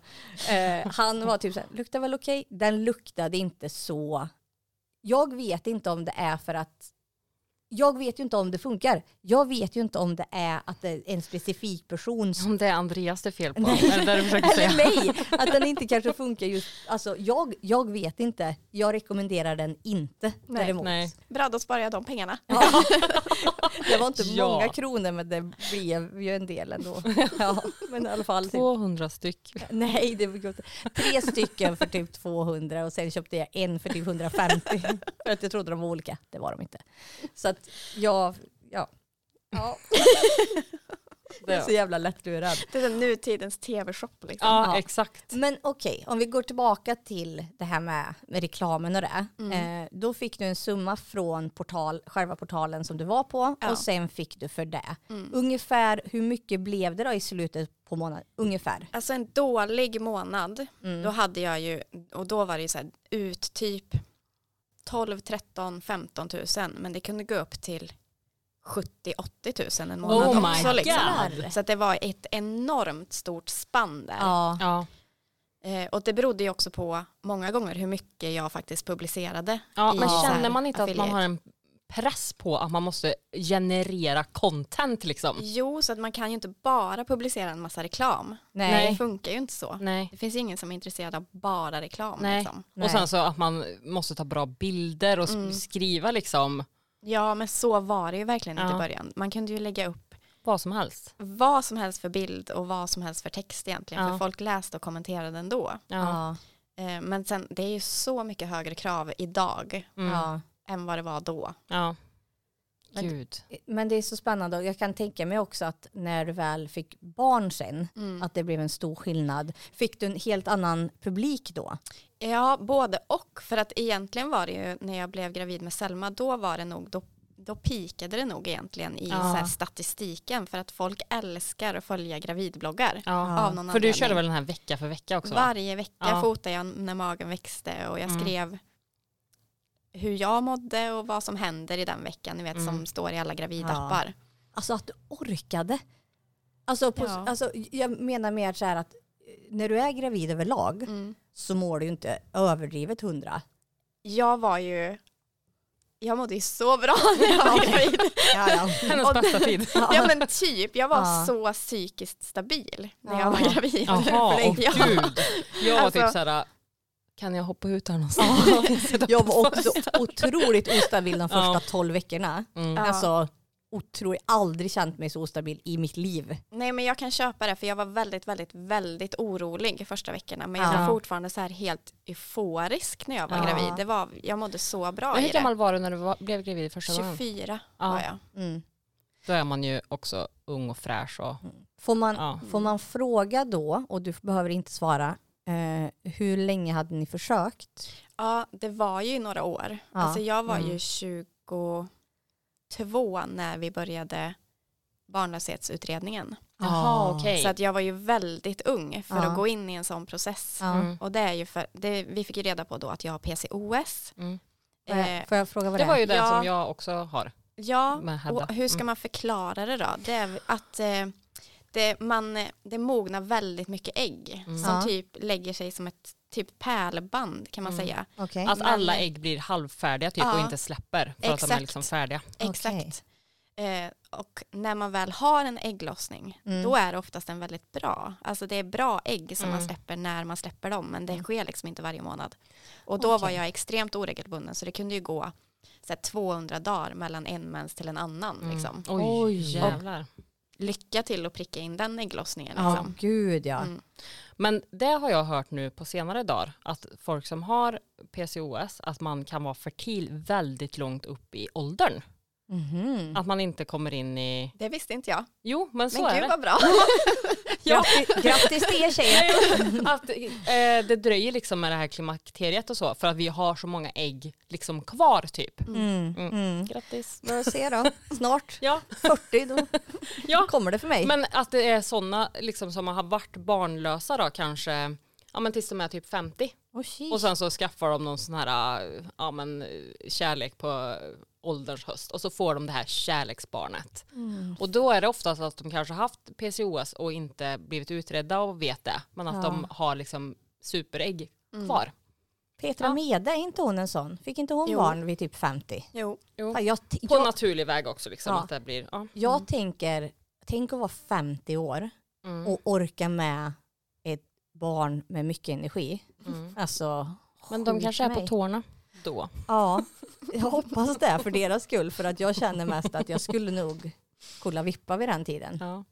S1: Eh, han var typ så här, luktar väl okej? Den luktade inte så. Jag vet inte om det är för att jag vet ju inte om det funkar. Jag vet ju inte om det är att det är en specifik persons
S2: Om det är Andreas det är fel på. Är det där du försöker säga?
S1: eller mig, att den inte kanske funkar just, alltså jag, jag vet inte, jag rekommenderar den inte
S3: Nej.
S1: däremot.
S2: Nej.
S3: Bra, då sparar jag de pengarna.
S1: Ja. Det var inte
S2: Ja.
S1: många kronor men det blev ju en del ändå. Ja, men i alla fall, typ,
S2: 200 styck.
S1: nej det var gott. Tre stycken för typ 200 och sen köpte jag en för typ 150 för att jag trodde de var olika, det var de inte. Så att jag, ja. Ja, jag är så jävla lättlurad.
S3: Det är den nutidens tv-shop. Liksom.
S2: Ja
S1: Ja.
S2: exakt.
S1: Men okej, om vi går tillbaka till det här med, med reklamen och det. Eh, då fick du en summa från portal, själva portalen som du var på
S3: Ja.
S1: och sen fick du för det. Ungefär hur mycket blev det då i slutet på månaden? Ungefär.
S3: Alltså en dålig månad,
S2: Mm.
S3: då hade jag ju, och då var det ju så här ut typ 12, 13, 15 000, men det kunde gå upp till 70, 80 000 en månad
S2: Oh my
S3: också. Liksom.
S2: god.
S3: Så att det var ett enormt stort spann där.
S1: Ja.
S2: Ja.
S3: Eh, och det berodde ju också på många gånger hur mycket jag faktiskt publicerade.
S2: Ja,
S3: i
S2: men
S3: så här
S2: känner man inte att man
S3: affiliate.
S2: har en press på att man måste generera content liksom?
S3: Jo, så att man kan ju inte bara publicera en massa reklam.
S1: Nej.
S3: Det funkar ju inte så.
S2: Nej.
S3: Det finns ju ingen som är intresserad av bara reklam.
S2: Nej.
S3: Liksom.
S1: Nej. Mm.
S2: Och sen så att man måste ta bra bilder och s- skriva liksom
S3: Ja, men så var det ju verkligen inte
S2: Ja.
S3: i början. Man kunde ju lägga upp
S2: vad som helst.
S3: vad som helst för bild och vad som helst för text egentligen.
S2: Ja.
S3: För folk läste och kommenterade ändå.
S2: Ja.
S3: Eh, Men sen, det är ju så mycket högre krav idag
S2: Mm.
S1: ja.
S3: än vad det var då.
S2: ja.
S1: Men-
S2: Gud.
S1: Men det är så spännande och jag kan tänka mig också att när du väl fick barn sen, att det blev en stor skillnad. Fick du en helt annan publik då?
S3: Ja, både och. För att egentligen var det ju när jag blev gravid med Selma, då var det nog, då, då pikade det nog egentligen i
S2: Ja.
S3: så här statistiken för att folk älskar att följa gravidbloggar.
S2: Ja.
S3: Av någon
S2: För du
S3: anledning.
S2: körde väl den här vecka för vecka också? Va?
S3: Varje vecka
S2: Ja.
S3: fotade jag när magen växte och jag
S2: Mm.
S3: skrev hur jag mådde och vad som händer i den veckan, ni vet som
S2: Mm.
S3: står i alla
S1: Ja.
S3: gravidappar.
S1: Alltså att du orkade. Alltså, på,
S3: Ja.
S1: alltså jag menar mer så här att eh, när du är gravid överlag
S3: Mm.
S1: så mår du ju inte överdrivet hundra.
S3: Jag var ju, jag mådde ju så bra när jag var gravid.
S1: Ja, ja.
S2: Hennes
S3: Och-
S2: bästa tid.
S3: Ja men typ, jag var
S1: Ja.
S3: så psykiskt stabil när
S1: Ja.
S3: jag var gravid.
S2: Jaha, åh
S3: Ja.
S2: gud. Jag var typ
S3: Alltså-
S2: såhär, kan jag hoppa ut här någonstans? Sätta
S1: Jag
S2: på
S1: var
S2: först.
S1: också otroligt ostabil de första
S2: Ja.
S1: tolv veckorna.
S2: Mm.
S3: Ja.
S1: Alltså, otroligt, aldrig känt mig så ostabil i mitt liv.
S3: Nej men jag kan köpa det för jag var väldigt, väldigt, väldigt orolig i första veckorna. Men jag
S1: Ja.
S3: var fortfarande så här helt euforisk när jag var
S1: Ja.
S3: gravid. Det var, jag mådde så bra
S2: Men
S3: i
S2: hur
S3: det.
S2: gammal var du när du var, blev gravid första gången?
S3: 24
S2: Ja.
S3: var jag.
S1: Mm.
S2: Då är man ju också ung och fräsch och
S1: Får, man,
S2: ja.
S1: får man fråga då, och du behöver inte svara, Eh, hur länge hade ni försökt?
S3: Ja, det var ju några år.
S1: Ja,
S3: Alltså jag var
S2: mm.
S3: ju 22 när vi började barnlöshetsutredningen.
S2: Jaha, okej.
S3: Så att jag var ju väldigt ung för
S1: Ja.
S3: att gå in i en sån process.
S1: Ja.
S2: Mm.
S3: Och det är ju för, det, vi fick ju reda på då att jag har PCOS.
S2: Mm.
S1: Får
S3: Eh,
S1: jag, får jag fråga vad det,
S2: Det var ju det
S3: Ja.
S2: som jag också har.
S3: ja,
S2: Med Hedda.
S3: och hur ska
S2: Mm.
S3: man förklara det då? Det är att eh, det, man, eh, det mognar väldigt mycket ägg
S2: Mm.
S3: som
S1: Ja.
S3: typ lägger sig som ett typ pärlband kan man
S2: Mm.
S3: säga.
S1: är? Okej.
S2: Att
S3: Men-
S2: alla ägg blir halvfärdiga typ
S3: Ja.
S2: och inte släpper för att de är
S3: Exakt.
S2: liksom färdiga.
S3: Exakt. Eh, och när man väl har en ägglossning
S1: Mm.
S3: då är det oftast en väldigt bra, alltså det är bra ägg som man
S2: Mm.
S3: släpper när man släpper dem men det
S2: Mm.
S3: sker liksom inte varje månad. Och då var
S1: Okej.
S3: jag extremt oregelbunden så det kunde ju gå så här, 200 dagar mellan en mens till en annan.
S2: Mm.
S3: Liksom.
S2: Oj,
S1: Oj.
S2: jävlar.
S3: Lycka till att pricka in den ägglossningen.
S1: Ja,
S3: Liksom.
S1: gud ja.
S3: Mm.
S2: Men det har jag hört nu på senare dagar att folk som har PCOS att man kan vara fertil väldigt långt upp i åldern.
S1: Mhm.
S2: Att man inte kommer in i...
S3: Det visste inte jag.
S2: Jo, men så
S3: Mm. Men
S2: är
S3: gud
S2: det.
S3: vad bra.
S2: Ja.
S1: Grattis, grattis till er tjejer.
S2: att, eh, det dröjer liksom med det här klimakteriet och så för att vi har så många ägg liksom kvar typ.
S1: Mm.
S2: Mm.
S1: Mm.
S2: Grattis.
S1: Vad ser då? Snart
S2: Ja,
S1: 40 då
S2: ja.
S1: kommer det för mig.
S2: Men att det är sådana liksom, som har varit barnlösa då kanske ja, men tills de är typ 50
S1: Åh, shit.
S2: och sen så skaffar de någon sån här eh, ja, men, eh, kärlek på eh, ålderns höst och så får de det här kärleksbarnet.
S1: Mm.
S2: Och då är det oftast att de kanske haft PCOS och inte blivit utredda och vet det men att
S1: Ja. Mm.
S2: de har liksom superägg kvar.
S1: Petra
S2: Ja.
S1: Mede, är inte hon en sån? Fick inte hon
S3: Jo.
S1: barn vid typ 50?
S3: Jo.
S1: Ja, Jag, t-
S2: På
S1: jag,
S2: naturlig väg också liksom.
S1: Ja.
S2: Att det blir, ja.
S1: jag tänker, tänk att vara 50 år
S2: Mm.
S1: och orka med ett barn med mycket energi.
S2: Mm.
S1: Alltså,
S2: Men de
S1: skjut
S2: kanske är på
S1: mig.
S2: tårna då.
S1: Ja, jag hoppas det för deras skull. För att jag känner mest att jag skulle nog kolla vippa vid den tiden.
S2: Ja.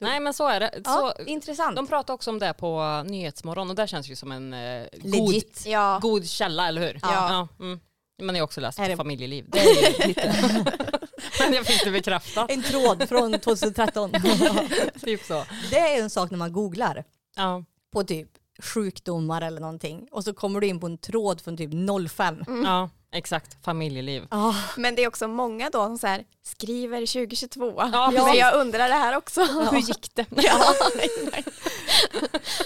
S2: Nej men så är det.
S1: Ja,
S2: Så,
S1: intressant.
S2: De pratar också om det på Nyhetsmorgon och där känns det ju som en eh, god,
S1: Legit.
S3: Ja.
S2: god källa, eller hur?
S3: Ja.
S2: mm. Men jag har också läst
S1: Är det-
S2: Familjeliv. Det är ju lite... Men jag fick det bekräftat.
S1: En tråd från 2013.
S2: typ så.
S1: det är en sak när man googlar.
S2: Ja.
S1: på typ sjukdomar eller någonting och så kommer du in på en tråd från typ 05.
S2: ja, exakt. Familjeliv.
S1: Ah,
S3: Men det är också många då som så här, skriver 2022.
S2: Ja,
S3: Men
S2: precis.
S3: jag undrar det här också.
S2: Hur gick det?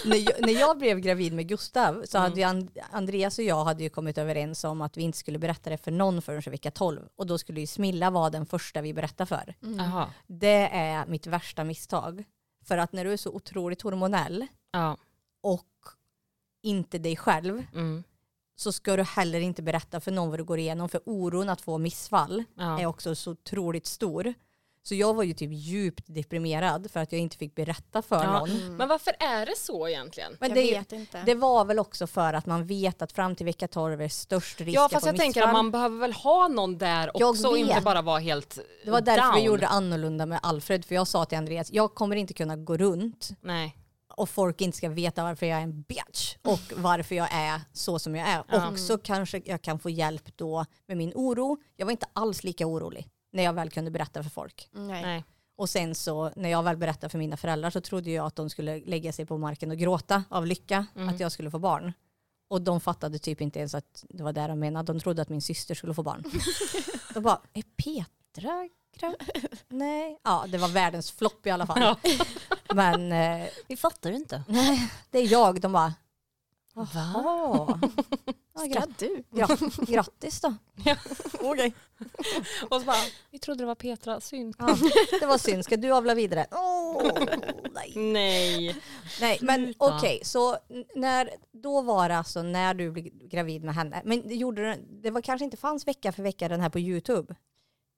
S1: när, jag, när jag blev gravid med Gustav så hade ju And- Andreas och jag hade ju kommit överens om att vi inte skulle berätta det för någon förrän i vecka 12 och då skulle ju Smilla vara den första vi berättar för.
S3: Mm.
S2: Jaha.
S1: Det är mitt värsta misstag. För att när du är så otroligt hormonell
S2: Ja.
S1: och inte dig själv
S2: Mm.
S1: så ska du heller inte berätta för någon vad du går igenom för oron att få missfall är
S2: Ja.
S1: också så otroligt stor. Så jag var ju typ djupt deprimerad för att jag inte fick berätta
S2: Ja.
S1: för
S2: Mm.
S1: någon.
S2: Men varför är det så egentligen?
S1: Men
S3: jag
S1: det, är-
S3: vet inte.
S1: det var väl också för att man vet att fram till vecka 12 är störst risk
S2: Ja
S1: att
S2: fast
S1: få
S2: jag tänker att
S1: missfall.
S2: man behöver väl ha någon där
S1: Jag
S2: också och
S1: vet.
S2: inte bara vara helt
S1: Det var därför
S2: down.
S1: vi gjorde annorlunda med Alfred för jag sa till Andreas jag kommer inte kunna gå runt
S2: Nej.
S1: och folk inte ska veta varför jag är en bitch och varför jag är så som jag är.
S2: Ja.
S1: Och så kanske jag kan få hjälp då med min oro. Jag var inte alls lika orolig när jag väl kunde berätta för folk.
S3: Nej.
S2: Nej.
S1: Och sen så när jag väl berättade för mina föräldrar så trodde jag att de skulle lägga sig på marken och gråta av lycka
S2: Mm.
S1: att jag skulle få barn. Och de fattade typ inte ens att det var det de menade. De trodde att min syster skulle få barn. de bara, är Petra gravid? Nej. Ja, det var världens flopp i alla fall.
S2: Ja.
S1: Men eh,
S2: Vi fattar inte.
S1: det är jag. De bara,
S2: Va?
S1: åh. Ja,
S3: Ska
S1: gratt,
S3: du?
S1: gratt, grattis då. Okej.
S2: Och så bara, vi trodde det var Petra, synd.
S1: Ja, det var synd. Ska du avla vidare? Åh, nej.
S2: Nej.
S1: Nej men
S2: Sluta.
S1: okej, så n- när, då var det alltså när du blev gravid med henne, men det, gjorde, den- det var kanske inte fanns vecka för vecka den här på YouTube?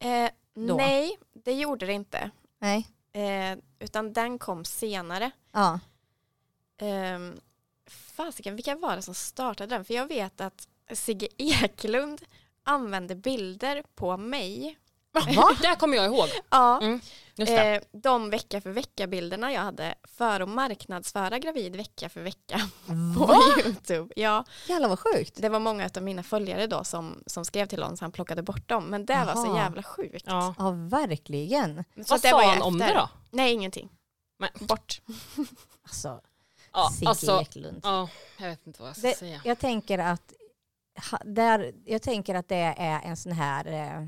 S3: Eh,
S1: Då?
S3: nej, det gjorde det inte.
S1: Nej.
S3: Eh, utan den kom senare.
S1: Ja.
S3: Ehm, fasiken, vilka var det som startade den? För jag vet att Sigge Eklund använde bilder på mig.
S2: Va? Det kommer jag ihåg.
S3: Ja,
S2: Mm, Just det.
S3: eh, de vecka för vecka-bilderna jag hade för att marknadsföra gravid vecka för vecka på YouTube. Ja,
S1: Jävlar vad sjukt.
S3: det var många av mina följare då som, som skrev till honom så han plockade bort dem. Men det var så
S1: Jaha.
S3: jävla sjukt.
S2: Ja.
S1: Ja verkligen.
S3: Så
S2: Vad
S3: det
S2: sa
S3: var ju
S2: han om
S3: efter.
S2: det då?
S3: Nej, ingenting.
S2: Men-
S3: Bort.
S1: Alltså,
S2: Ja,
S1: Sigge
S2: alltså,
S1: Eklund.
S2: ja, jag vet inte vad jag ska
S1: Det-
S2: säga.
S1: Jag tänker att ha, där, jag tänker att det är en sån här, eh,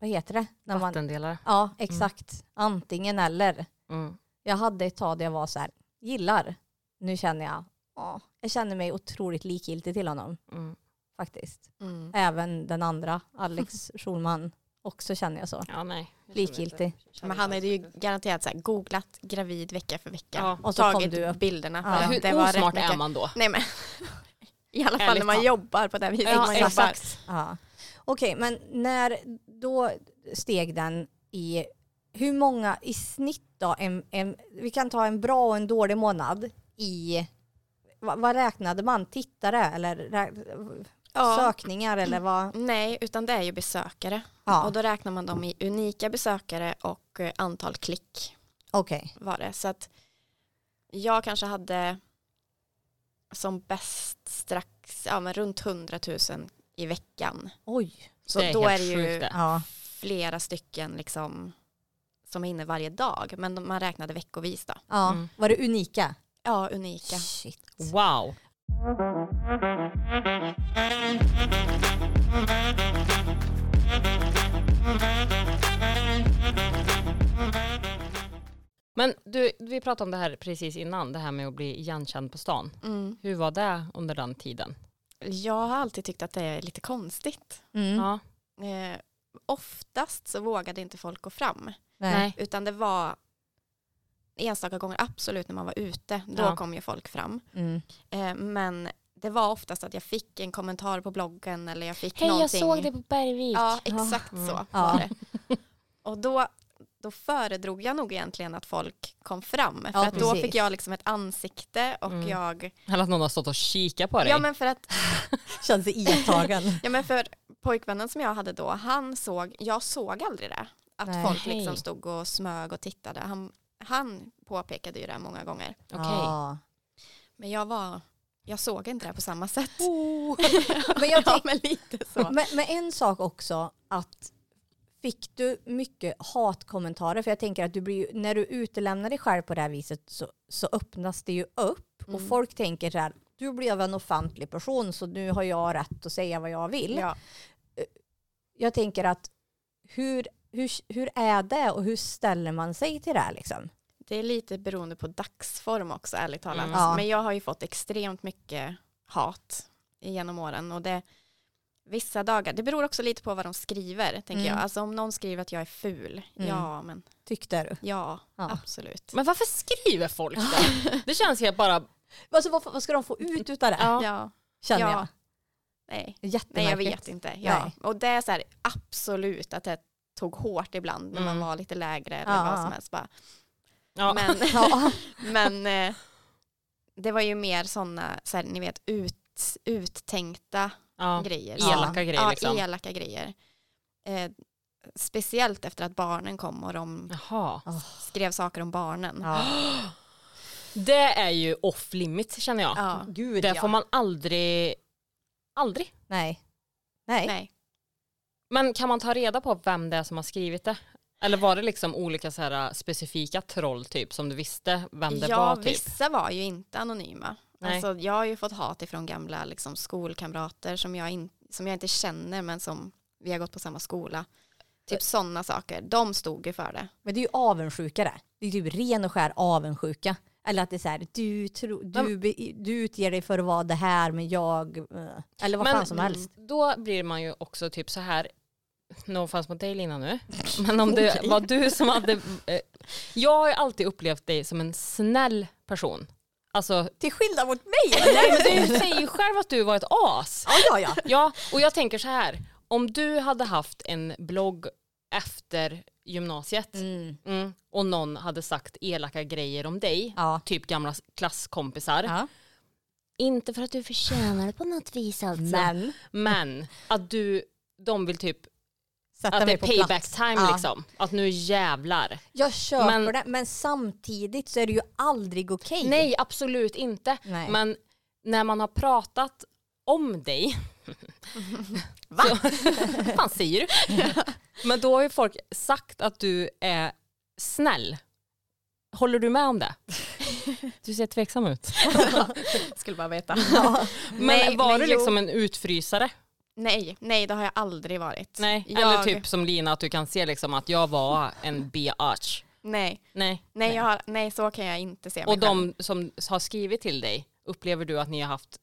S1: vad heter det? När man,
S2: Vattendelare.
S1: ja, exakt. Antingen eller.
S2: Mm.
S1: Jag hade ett tag där jag var så här, gillar. Nu känner jag, ja, jag känner mig otroligt likgiltig till honom
S2: Mm.
S1: faktiskt.
S3: Mm.
S1: Även den andra, Alex Schulman, också känner jag så.
S2: Ja, nej. jag känner
S1: Likgiltig.
S2: inte- känner
S3: Men han hade ju
S2: inte.
S3: garanterat så här, googlat gravid vecka för vecka.
S2: Ja.
S1: Och så kom
S3: tagit
S1: du upp.
S3: bilderna.
S1: Ja.
S3: för att
S2: Hur
S3: det var rätt
S2: osmart är
S3: mycket-
S2: man då?
S3: Nej men. I alla fall
S2: Ärligt
S3: när man
S2: talat.
S3: jobbar på det viset.
S2: Ja,
S3: man
S2: exakt.
S3: jobbar.
S1: Ja. Okej, men när då steg den i, hur många i snitt då? En, en, vi kan ta en bra och en dålig månad i, vad, vad räknade man? Tittare eller rä-
S3: Ja.
S1: sökningar eller vad?
S3: Nej, utan det är ju besökare. Och
S1: Ja,
S3: då räknar man dem i unika besökare och eh, antal klick
S1: okej.
S3: var det. Så att jag kanske hade som bäst strax, ja men runt 100 000 i veckan.
S1: Oj.
S3: Så
S2: det är
S3: då är
S2: helt
S3: det ju
S2: sjukt det.
S1: Ja.
S3: flera stycken liksom som är inne varje dag. Men de- man räknade veckovis då.
S1: ja.
S2: Mm.
S1: Var det unika?
S3: Ja, unika.
S1: Shit.
S2: Wow. Men du, vi pratade om det här precis innan, det här med att bli igenkänd på stan.
S3: Mm.
S2: Hur var det under den tiden?
S3: Jag har alltid tyckt att det är lite konstigt.
S1: Mm.
S2: Ja,
S3: Eh, oftast så vågade inte folk gå fram.
S1: Nej.
S2: nej.
S3: Utan det var enstaka gånger, absolut när man var ute, då
S2: Ja.
S3: kom ju folk fram.
S1: Mm.
S3: Eh, men det var oftast att jag fick en kommentar på bloggen eller jag fick
S2: Hej,
S3: någonting.
S2: jag såg det på Bergvik.
S3: Ja, exakt
S2: Mm.
S3: så
S1: Ja.
S3: var det. Och då, då föredrog jag nog egentligen att folk kom fram. För
S1: Ja,
S3: att då
S1: precis.
S3: fick jag liksom ett ansikte och
S2: Mm.
S3: jag...
S2: Eller att någon har stått och kikat på dig.
S3: Ja men, för att,
S1: Känns iakttagen.
S3: ja men för pojkvännen som jag hade då, han såg, jag såg aldrig det. Att
S1: Nej.
S3: folk liksom
S2: Hej.
S3: stod och smög och tittade. Han, han påpekade ju det många gånger.
S2: Okej.
S1: Ja.
S3: Men jag var, jag såg inte det på samma sätt.
S1: Men jag
S3: ja
S1: tänk-
S3: men lite så.
S1: Men, men en sak också, att fick du mycket hatkommentarer? För jag tänker att du blir ju, när du utelämnar dig själv på det här viset så, så öppnas det ju upp och
S3: Mm.
S1: folk tänker så här, du blev en offentlig person så nu har jag rätt att säga vad jag vill.
S3: Ja.
S1: Jag tänker att hur, hur, hur är det och hur ställer man sig till det här liksom?
S3: Det är lite beroende på dagsform också ärligt talat.
S2: Mm.
S1: Ja.
S3: Men jag har ju fått extremt mycket hat genom åren och det vissa dagar, det beror också lite på vad de skriver tänker
S1: Mm.
S3: jag. Alltså om någon skriver att jag är ful,
S1: Mm.
S3: ja men
S1: Tyckte du?
S3: ja,
S1: Ja.
S3: absolut.
S2: Men varför skriver folk det? Det känns helt bara...
S1: Alltså, vad, vad ska de få ut utav det?
S2: Ja.
S3: Ja,
S1: Känner
S3: Ja.
S1: jag.
S3: nej. nej jag
S1: Jättemärkligt.
S3: vet inte. Ja.
S1: Nej.
S3: Och det är så här absolut att det tog hårt ibland när
S2: Mm.
S3: man var lite lägre eller
S1: Ja.
S3: vad som helst. Bara.
S2: Ja.
S3: Men,
S1: Ja.
S3: men eh, det var ju mer sådana, så här, ni vet, ut, uttänkta
S2: ja.
S3: grejer.
S2: Elaka grejer
S3: Ja,
S2: liksom.
S3: elaka grejer. Eh, speciellt efter att barnen kom och de
S2: Jaha.
S3: skrev saker om barnen. Ja.
S1: Ja.
S2: Det är ju off limit känner jag.
S1: Gud
S2: Det
S1: ja.
S2: får man aldrig... Aldrig.
S1: Nej. Nej.
S3: Nej.
S2: Men kan man ta reda på vem det är som har skrivit det? Eller var det liksom olika så här specifika troll typ som du visste vem det var
S3: Ja,
S2: typ?
S3: vissa var ju inte anonyma.
S2: Nej.
S3: Alltså, jag har ju fått hat ifrån gamla liksom, skolkamrater som jag, in, som jag inte känner men som vi har gått på samma skola. Typ sådana saker. De stod ju för det.
S1: Men det är ju avundsjuka det. Det är typ ren och skär avundsjuka. Eller att det är så här, du, tro, du, be- du utger dig för att vara det här men jag... eh, Eller vad
S2: Men-
S1: fan som helst.
S2: Då blir man ju också typ så här No offense mot dig Lina nu, men om det var du som hade... Eh, jag har ju alltid upplevt dig som en snäll person. Alltså,
S1: Till skillnad mot mig!
S2: nej, men du säger ju själv att du var ett as.
S1: ja, ja, ja.
S2: Ja, och jag tänker så här. Om du hade haft en blogg efter gymnasiet
S1: Mm.
S2: mm, och någon hade sagt elaka grejer om dig,
S1: Ja.
S2: typ gamla klasskompisar.
S1: ja.
S2: Inte för att du förtjänar det på något vis alltså.
S1: Men
S2: Men att du, de vill typ,
S1: sätta
S2: att det
S1: mig
S2: är
S1: på
S2: payback
S1: plats.
S2: time
S1: Ja.
S2: liksom. Att nu jävlar.
S1: Jag köper
S2: Men-
S1: det men samtidigt så är det ju aldrig okej.
S2: Nej, absolut inte.
S1: Nej.
S2: Men när man har pratat om dig. Va? Vad fan säger du? Men då har ju folk sagt att du är snäll. Håller du med om det? Du ser tveksam ut.
S3: Skulle bara veta.
S2: Men
S3: Nej,
S2: var
S3: men
S2: du
S3: jo.
S2: liksom en utfrysare?
S3: Nej, nej det har jag aldrig varit.
S2: Nej. Eller
S3: Jag-
S2: typ som Lina, att du kan se liksom att jag var en biatch.
S3: Nej,
S2: Nej.
S3: nej, jag har, nej så kan jag inte se mig
S2: Och
S3: själv.
S2: de som har skrivit till dig, upplever du att ni har haft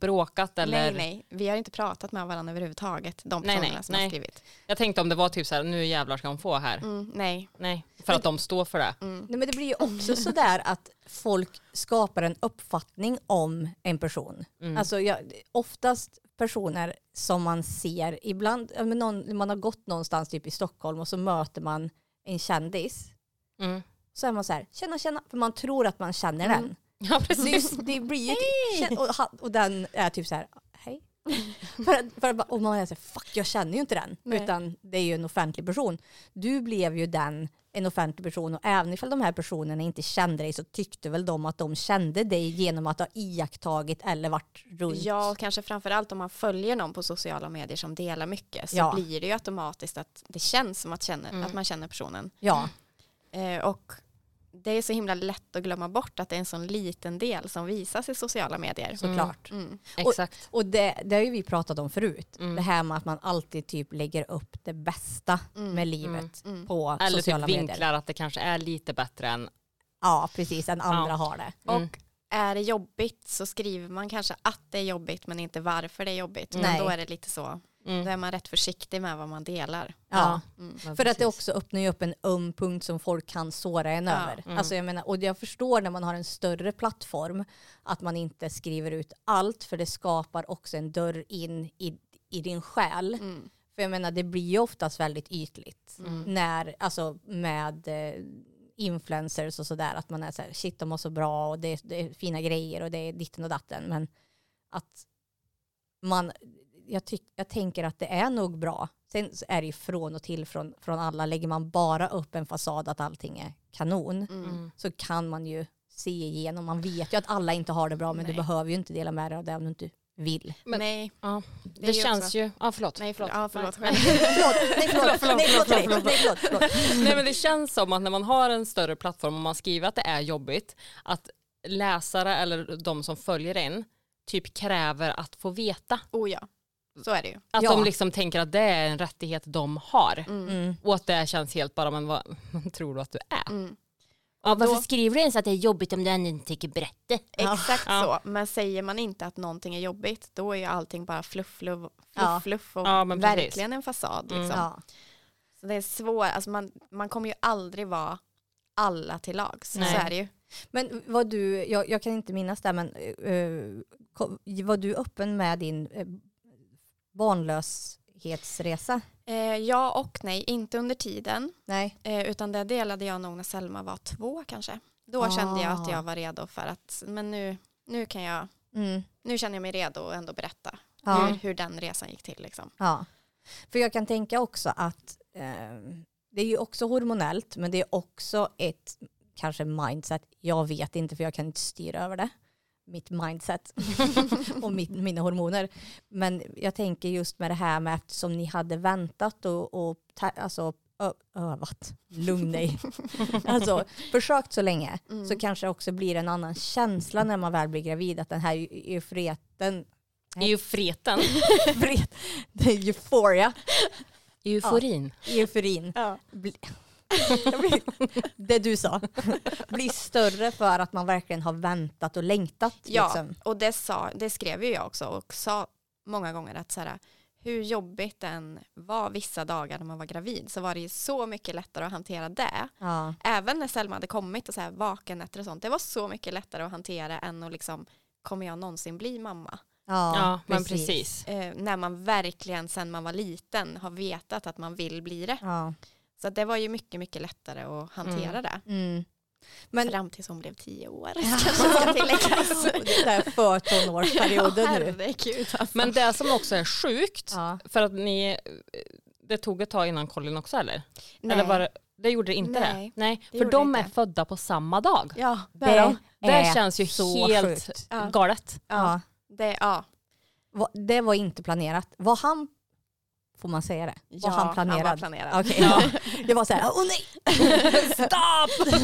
S2: bråkat eller?
S3: Nej, nej, vi har inte pratat med varandra överhuvudtaget. De
S2: Nej,
S3: personerna
S2: nej,
S3: som
S2: nej.
S3: har skrivit.
S2: Jag tänkte om det var typ så här, nu jävlar ska hon få här.
S3: Mm, nej.
S2: Nej, Mm. för att de står för det.
S1: Nej, men det blir ju också sådär att folk skapar en uppfattning om en person. Alltså jag, oftast personer som man ser, ibland, ja, men någon, man har gått någonstans typ i Stockholm och så möter man en kändis.
S2: Mm.
S1: Så är man så här, känna känna, för man tror att man känner den.
S2: Ja,
S1: Det,
S2: precis.
S1: är- det blir ju, kän- och, han- och den är typ så här, hej. för, att- för, att bara- och man är så här, fuck jag känner ju inte den.
S3: Nej.
S1: Utan det är ju en offentlig person. Du blev ju den, en offentlig person och även ifall de här personerna inte kände dig så tyckte väl de att de kände dig genom att ha iakttagit eller varit runt.
S3: Ja, och kanske framförallt om man följer någon på sociala medier som delar mycket så
S1: Ja.
S3: blir det ju automatiskt att det känns som att, känner,
S2: Mm.
S3: att man känner personen.
S1: ja.
S3: Eh, och det är så himla lätt att glömma bort att det är en sån liten del som visas i sociala medier.
S1: Såklart.
S3: Mm.
S2: Exakt.
S1: Och det, det har ju vi pratat om förut. Det här med att man alltid typ lägger upp det bästa med livet på
S2: Eller
S1: sociala
S2: typ
S1: medier.
S2: vinklar att det kanske är lite bättre än
S1: Ja, precis. Än andra har det.
S3: Och är det jobbigt så skriver man kanske att det är jobbigt men inte varför det är jobbigt. Men
S1: Nej.
S3: då är det lite så,
S2: Mm.
S3: då är man rätt försiktig med vad man delar.
S1: Ja.
S2: Ja,
S1: För att det
S2: precis.
S1: också öppnar ju upp en öm punkt som folk kan såra en över. Alltså jag menar, och jag förstår när man har en större plattform att man inte skriver ut allt för det skapar också en dörr in i, i din själ. För jag menar det blir ju oftast väldigt ytligt när, alltså med eh, influencers och sådär att man är så här, shit de har så bra och det är, det är fina grejer och det är ditten och datten. Men att man, jag, tyck, jag tänker att det är nog bra. Sen så är det ju från och till från, från alla. Lägger man bara upp en fasad att allting är kanon så kan man ju se igenom. Man vet ju att alla inte har det bra men du
S3: Nej.
S1: behöver ju inte dela med dig av det om du inte vill.
S2: Men-
S3: nej,
S2: Ja,
S3: är
S2: det,
S3: ju
S2: känns
S3: också-
S2: ju, ja förlåt.
S3: nej, förlåt. Ja, förlåt.
S2: Nej.
S1: Förlåt, nej förlåt, nej förlåt, nej förlåt, nej förlåt, förlåt.
S2: Nej men det känns som att när man har en större plattform och man skriver att det är jobbigt att läsare eller de som följer en typ kräver att få veta.
S3: Oh ja, så är det ju.
S2: Att
S1: Ja.
S2: de liksom tänker att det är en rättighet de har.
S1: Mm.
S2: Och att det känns helt bara, men vad tror du att du är?
S3: Mm.
S2: Ja, varför
S3: då-
S2: skriver du ens att det är jobbigt om du ännu inte tycker berätta?
S3: Exakt
S2: Ja.
S3: så, men säger man inte att någonting är jobbigt då är ju allting bara fluff, fluff,
S1: Ja.
S3: fluff, fluff och
S2: Ja, men precis. Mm.
S3: verkligen en fasad. Liksom.
S1: Ja,
S3: Så det är svårt, alltså man, man kommer ju aldrig vara alla till lags,
S2: Nej.
S3: så är det ju.
S1: men var du, jag, jag kan inte minnas det men eh, kom, var du öppen med din eh, barnlöshetsresa?
S3: Eh, ja och nej, inte under tiden,
S1: Nej.
S3: eh, utan det delade jag nog när Selma var två kanske. Då
S1: Ah.
S3: kände jag att jag var redo för att, men nu, nu kan jag,
S1: Mm.
S3: nu känner jag mig redo att ändå berätta
S1: Ja.
S3: hur, hur den resan gick till liksom.
S1: Ja. För jag kan tänka också att ehm, det är ju också hormonellt men det är också ett kanske mindset. Jag vet inte för jag kan inte styra över det. Mitt mindset och mitt, mina hormoner. Men jag tänker just med det här med eftersom ni hade väntat och, och ta, alltså, ö, övat, lugn dig, alltså försökt så länge
S3: Mm.
S1: så kanske det också blir en annan känsla när man väl blir gravid att den här eu- euforieten,
S2: Eufreten.
S1: euforiet, euforia
S2: Euforin.
S1: euforin. Bli, Jag blir- det du sa. Blir större för att man verkligen har väntat och längtat.
S3: Ja,
S1: Liksom.
S3: och det, sa, det skrev ju jag också och sa många gånger att så här, hur jobbigt den var vissa dagar när man var gravid så var det ju så mycket lättare att hantera det.
S1: Ja.
S3: Även när Selma hade kommit och så här vakennätter och sånt, det var så mycket lättare att hantera än att liksom kommer jag någonsin bli mamma?
S1: Ja,
S2: Ja, men precis.
S3: Eh, när man verkligen sedan man var liten har vetat att man vill bli det.
S1: Ja.
S3: Så det var ju mycket, mycket lättare att hantera det.
S1: Mm. Men
S3: Fram tills hon blev tio år kanske ska tilläggas.
S1: det där för tonårsperioden
S3: Ja,
S1: nu.
S3: herregud, alltså.
S2: Men det som också är sjukt,
S1: Ja.
S2: för att ni, det tog ett tag innan Colin också eller?
S3: Nej.
S2: Eller var det, det gjorde det inte
S3: Nej,
S2: det? Nej,
S3: det
S2: för
S3: gjorde
S2: de
S3: det
S2: är
S3: inte.
S2: födda på samma dag.
S3: Ja,
S1: Det
S3: det,
S1: är
S2: Det känns ju
S1: så
S2: helt
S1: sjukt.
S3: Ja.
S2: galet.
S1: Ja.
S3: det, ja.
S1: Va- Det var inte planerat. Var han Får man säga det?
S3: Ja,
S1: var han planerad?
S3: var planerad.
S1: Okej, ja. Jag var så här, åh nej! Stopp!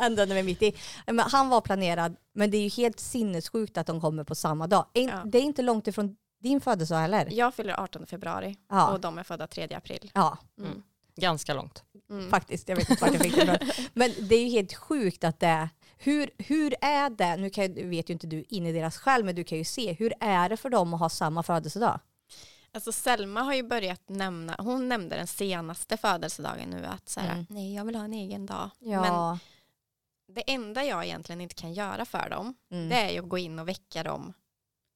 S1: Ändade mig mitt i. Men han var planerad, men det är ju helt sinnessjukt att de kommer på samma dag. En-
S3: Ja.
S1: Det är inte långt ifrån din födelsedag heller.
S3: Jag fyller 18 februari
S1: Ja.
S3: och de är födda 3 april.
S1: ja,
S3: Mm.
S2: Ganska långt.
S3: Mm.
S1: faktiskt. Jag vet inte vart jag fick det ifrån. Men det är ju helt sjukt att det är. Hur, hur är det, nu kan, jag- vet ju inte du in i deras själ, men du kan ju se, hur är det för dem att ha samma födelsedag?
S3: Alltså Selma har ju börjat nämna, hon nämnde den senaste födelsedagen nu att så här,
S1: Mm.
S3: nej jag vill ha en egen dag. Men
S1: Ja.
S3: det enda jag egentligen inte kan göra för dem
S1: mm.
S3: det är ju att gå in och väcka dem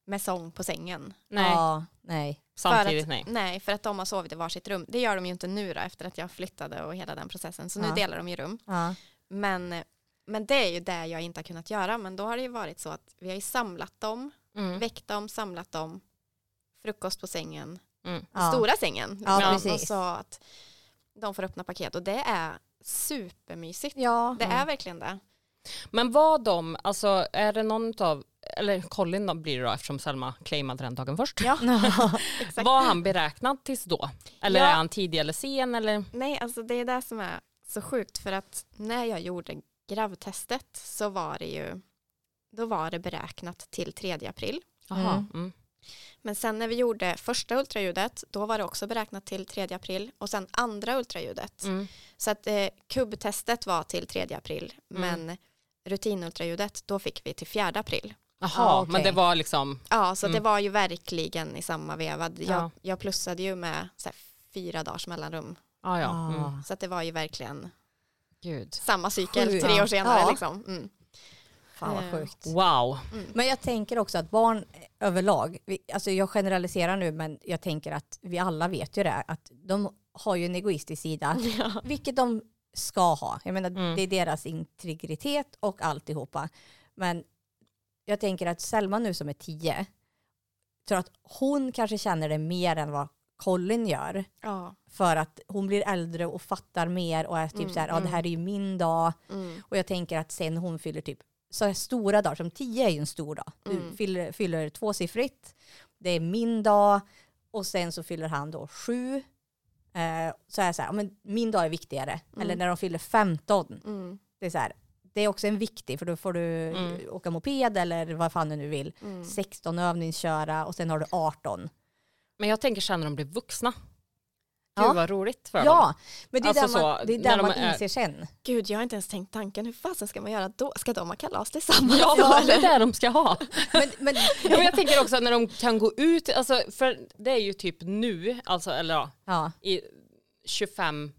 S3: med sång på sängen.
S2: Nej,
S1: Ja, nej.
S2: samtidigt
S3: för
S2: nej.
S3: att, Nej, för att de har sovit i varsitt rum. Det gör de ju inte nu då efter att jag flyttade och hela den processen. Så
S1: Ja.
S3: nu delar de ju rum.
S1: Ja.
S3: Men, men det är ju det jag inte har kunnat göra. Men då har det ju varit så att vi har ju samlat dem,
S2: Mm.
S3: väckt dem, samlat dem, frukost på sängen,
S2: Mm.
S1: Ja.
S3: stora sängen.
S1: Ja,
S3: liksom.
S1: precis.
S3: Och så att de får öppna paket och det är supermysigt.
S1: Ja. Mm.
S3: Det är verkligen det.
S2: Men var de, alltså är det någon av, eller Colin då blir det då eftersom Selma claimade den dagen först.
S3: Ja, exakt.
S2: Var han beräknad tills då? Eller
S3: Ja.
S2: är han tidig eller sen? Eller?
S3: Nej, alltså det är det som är så sjukt för att när jag gjorde gravtestet så var det ju då var det beräknat till 3 april.
S2: Jaha.
S1: Mm.
S2: Mm.
S3: Men sen när vi gjorde första ultraljudet då var det också beräknat till 3 april och sen andra ultraljudet.
S2: Mm.
S3: Så att eh, kubbtestet var till 3 april
S2: Mm.
S3: men rutinultraljudet då fick vi till 4 april.
S2: Jaha,
S1: Ja, okej.
S2: men det var liksom,
S3: Ja, så
S2: Mm.
S3: det var ju verkligen i samma veva. Jag,
S2: Ja.
S3: jag plussade ju med så här, fyra dagars mellanrum.
S2: ja ja. Mm.
S1: Ah.
S3: Så att det var ju verkligen
S2: Gud.
S3: samma cykel
S1: Sjukt.
S3: tre år senare.
S1: Ja.
S3: Liksom. Mm.
S1: Fan vad
S3: Eh.
S1: sjukt.
S2: Wow.
S1: Men jag tänker också att barn överlag, vi, alltså jag generaliserar nu men jag tänker att vi alla vet ju det, att de har ju en egoistisk sida, vilket de ska ha. Jag menar
S2: Mm.
S1: det är deras integritet och alltihopa. Men jag tänker att Selma nu som är tio, tror att hon kanske känner det mer än vad Colin gör.
S3: Ja.
S1: För att hon blir äldre och fattar mer och är typ
S3: Mm,
S1: så här, ja det här är ju min dag.
S3: Mm.
S1: Och jag tänker att sen hon fyller typ så här stora dagar, som 10 är ju en stor dag. Du
S3: Mm.
S1: fyller, fyller tvåsiffrigt, det är min dag och sen så fyller han då sju. Eh, så är jag så här, ja, men min dag är viktigare.
S2: Mm.
S1: Eller när de fyller 15,
S3: Mm.
S1: det är så här, det är också en viktig för då får du
S2: Mm.
S1: åka moped eller vad fan du nu vill.
S3: Mm.
S1: 16 övningsköra och sen har du 18.
S2: Men jag tänker sen när de blir vuxna. Gud
S1: Ja.
S2: vad roligt för dem.
S1: Ja, men det är
S2: Alltså
S1: där man,
S2: så,
S1: det är
S2: när
S1: där
S2: de
S1: man
S2: är-
S1: inser sen.
S3: Gud, jag har inte ens tänkt tanken. Hur fasen ska man göra då? Ska de ha kalas tillsammans?
S2: Ja,
S3: då,
S2: det
S3: eller?
S2: är det de ska ha.
S1: Men, men,
S2: Ja, men jag tänker också när de kan gå ut, alltså, för det är ju typ nu, alltså, eller ja,
S1: ja,
S2: i 25-30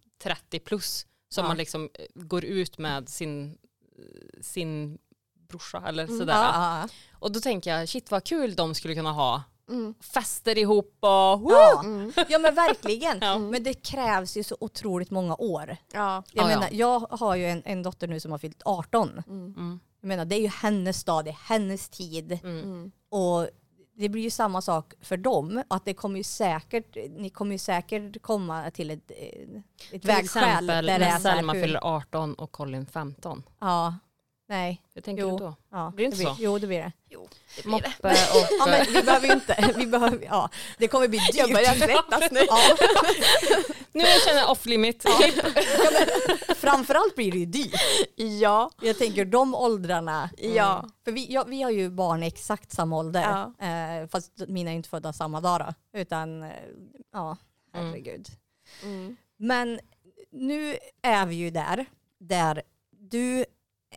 S2: plus som
S1: Ja.
S2: man liksom eh, går ut med sin, eh, sin brorsa eller
S1: Mm. ja,
S2: sådär.
S1: ja,
S2: Och då tänker jag, shit vad kul de skulle kunna ha.
S3: Mm.
S2: Fester ihop och woo!
S1: ja.
S3: Mm.
S1: Ja men verkligen.
S2: Ja.
S1: Men det krävs ju så otroligt många år.
S3: Ja.
S1: Jag
S2: Ja, ja.
S1: menar, jag har ju en, en dotter nu som har fyllt 18.
S2: Mm.
S1: Jag menar, det är ju hennes dag, det är hennes tid.
S3: Mm.
S1: Och det blir ju samma sak för dem. Att det kommer ju säkert, ni kommer ju säkert komma till ett, eh, ett
S2: Till
S1: vägskäl.
S2: exempel
S1: där det är
S2: när
S1: så här,
S2: Selma
S1: hur-
S2: fyller 18 och Colin 15.
S1: Ja. Nej.
S2: Hur tänker
S1: Jo.
S2: du då?
S1: Ja,
S2: Blir det inte
S1: blir,
S2: så?
S1: Jo det blir det.
S3: Jo, det blir
S2: Moppe
S3: det.
S1: Ja,
S2: och... eh,
S1: men vi behöver ju inte, vi behöver, ja. Det kommer bli dyrt.
S3: Jag börjar svettas nu.
S1: Ja,
S2: Nu känner jag off limit. Klipp.
S1: framförallt blir det ju dyrt.
S3: Ja.
S1: Jag tänker de åldrarna.
S3: Ja.
S1: Mm. För vi, ja, vi har ju barn i exakt samma ålder. Eh, fast mina är inte födda samma dag då. Utan eh, ja, herregud.
S3: Mm.
S1: Men nu är vi ju där. Där du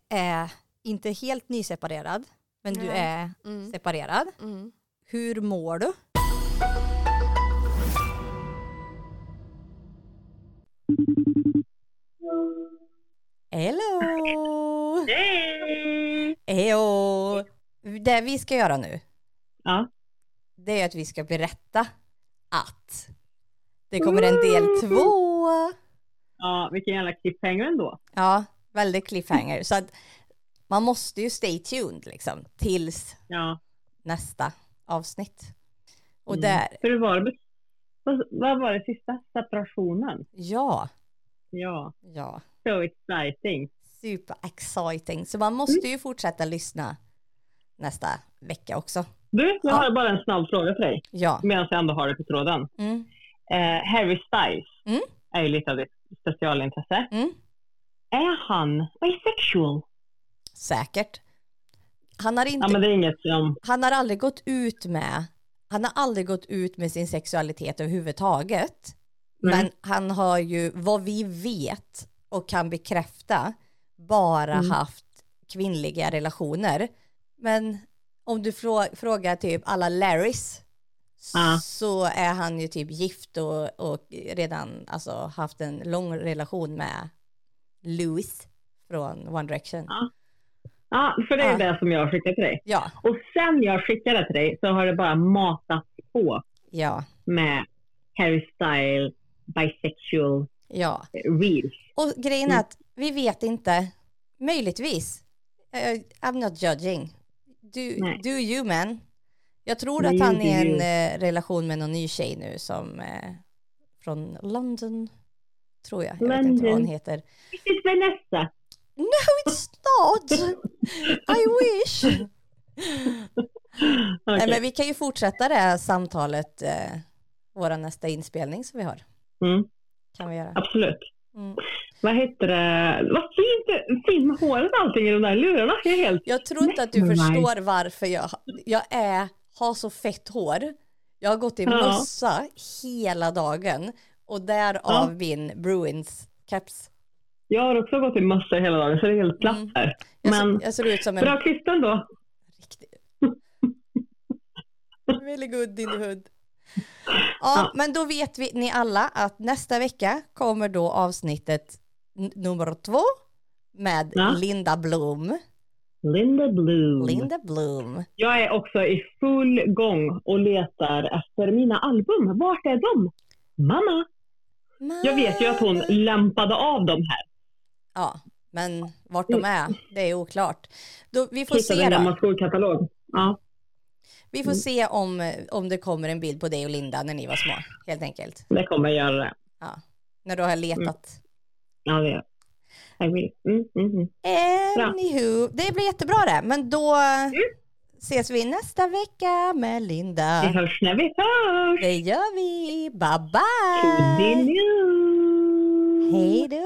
S1: är inte helt nyseparerad. Men du
S3: Nej.
S1: är
S3: Mm.
S1: separerad.
S3: Mm.
S1: Hur mår du? Hello!
S4: Hej!
S1: Ejo. Det vi ska göra nu,
S4: Ja.
S1: det är att vi ska berätta att det kommer en del två.
S4: ja, vilken jävla cliffhanger ändå.
S1: Ja, väldigt cliffhanger. Så att man måste ju stay tuned liksom tills
S4: Ja.
S1: nästa avsnitt. Och
S4: Mm.
S1: där,
S4: För det var det, vad, vad var det sista? Separationen?
S1: ja,
S4: Ja,
S1: ja,
S4: so exciting.
S1: super exciting. Så man måste ju fortsätta lyssna nästa vecka också.
S4: Du, jag
S1: Ja.
S4: har bara en snabb fråga till dig
S1: Ja,
S4: medan jag ändå har det på tråden.
S1: mm.
S4: Eh, Harry Styles
S1: Mm.
S4: är ju lite av ditt specialintresse.
S1: Mm.
S4: Är han bisexual?
S1: Säkert. Han har, inte,
S4: Ja, men det är inget som...
S1: han har aldrig gått ut med han har aldrig gått ut med sin sexualitet överhuvudtaget.
S4: Nej.
S1: Men han har ju, vad vi vet och kan bekräfta, bara
S4: Mm.
S1: haft kvinnliga relationer. Men om du frå- frågar typ alla Larrys
S4: Ja.
S1: så är han ju typ gift och, och redan alltså, haft en lång relation med Louis från One Direction.
S4: Ja. Ja, för det är
S1: Ja.
S4: det som jag skickade till dig.
S1: Ja,
S4: Och sen jag skickade det till dig så har det bara matats på
S1: ja,
S4: med Harry Style bisexual
S1: ja.
S4: reels.
S1: Och grejen är
S4: Mm.
S1: att vi vet inte. Möjligtvis. Eh, I'm not judging. Du,
S4: Nej.
S1: do you man. Jag tror
S4: You
S1: att han
S4: do
S1: är i en eh, relation med någon ny tjej nu som eh, från London. Tror jag. Jag vet inte vad
S4: London.
S1: hon heter.
S4: This is Vanessa.
S1: No it's not! I wish! Nej,
S4: Okej.
S1: men vi kan ju fortsätta det här samtalet. Eh, våra nästa inspelning som vi har.
S4: Mm,
S1: Kan vi göra.
S4: absolut.
S1: Mm.
S4: Vad heter det? Vad fint, fint med håret och allting i de där lurarna. Jag är helt...
S1: Jag tror inte att du
S4: Nej.
S1: förstår varför jag, jag är, har så fett hår. Jag har gått i
S4: Ja.
S1: mössa hela dagen och därav min Bruins caps.
S4: Jag har också gått i mössa hela dagen så det är helt platt
S1: Mm.
S4: här.
S1: Jag, ser-
S4: Men-
S1: jag ser ut som en
S4: Bra kvisten då.
S1: riktig... Really good in the hood. Ja,
S4: Ja.
S1: men då vet vi, ni alla att nästa vecka kommer då avsnittet n- nummer två med
S4: Ja.
S1: Linda Bloom.
S4: Linda Bloom.
S1: Linda Bloom.
S4: Jag är också i full gång och letar efter mina album. Vart är de? Mamma! Jag vet ju att
S1: Ah.
S4: hon lämpade av dem här.
S1: Ja, men vart de är, det är oklart. Då, vi får
S4: Hittade
S1: se
S4: en
S1: då.
S4: gammal skolkatalog. Ja.
S1: Vi får se om, om det kommer en bild på dig och Linda när ni var små, helt enkelt.
S4: Det kommer jag göra. det.
S1: När du har letat.
S4: Ja, det gör jag. I will. Mm, mm, mm. Mm.
S1: Anywho, det blir jättebra det, men då ses vi nästa vecka med
S4: Vi
S1: Linda.
S4: hörs när vi hörs!
S1: Det gör vi. Bye
S4: Toodiloo!
S1: bye! Hej då!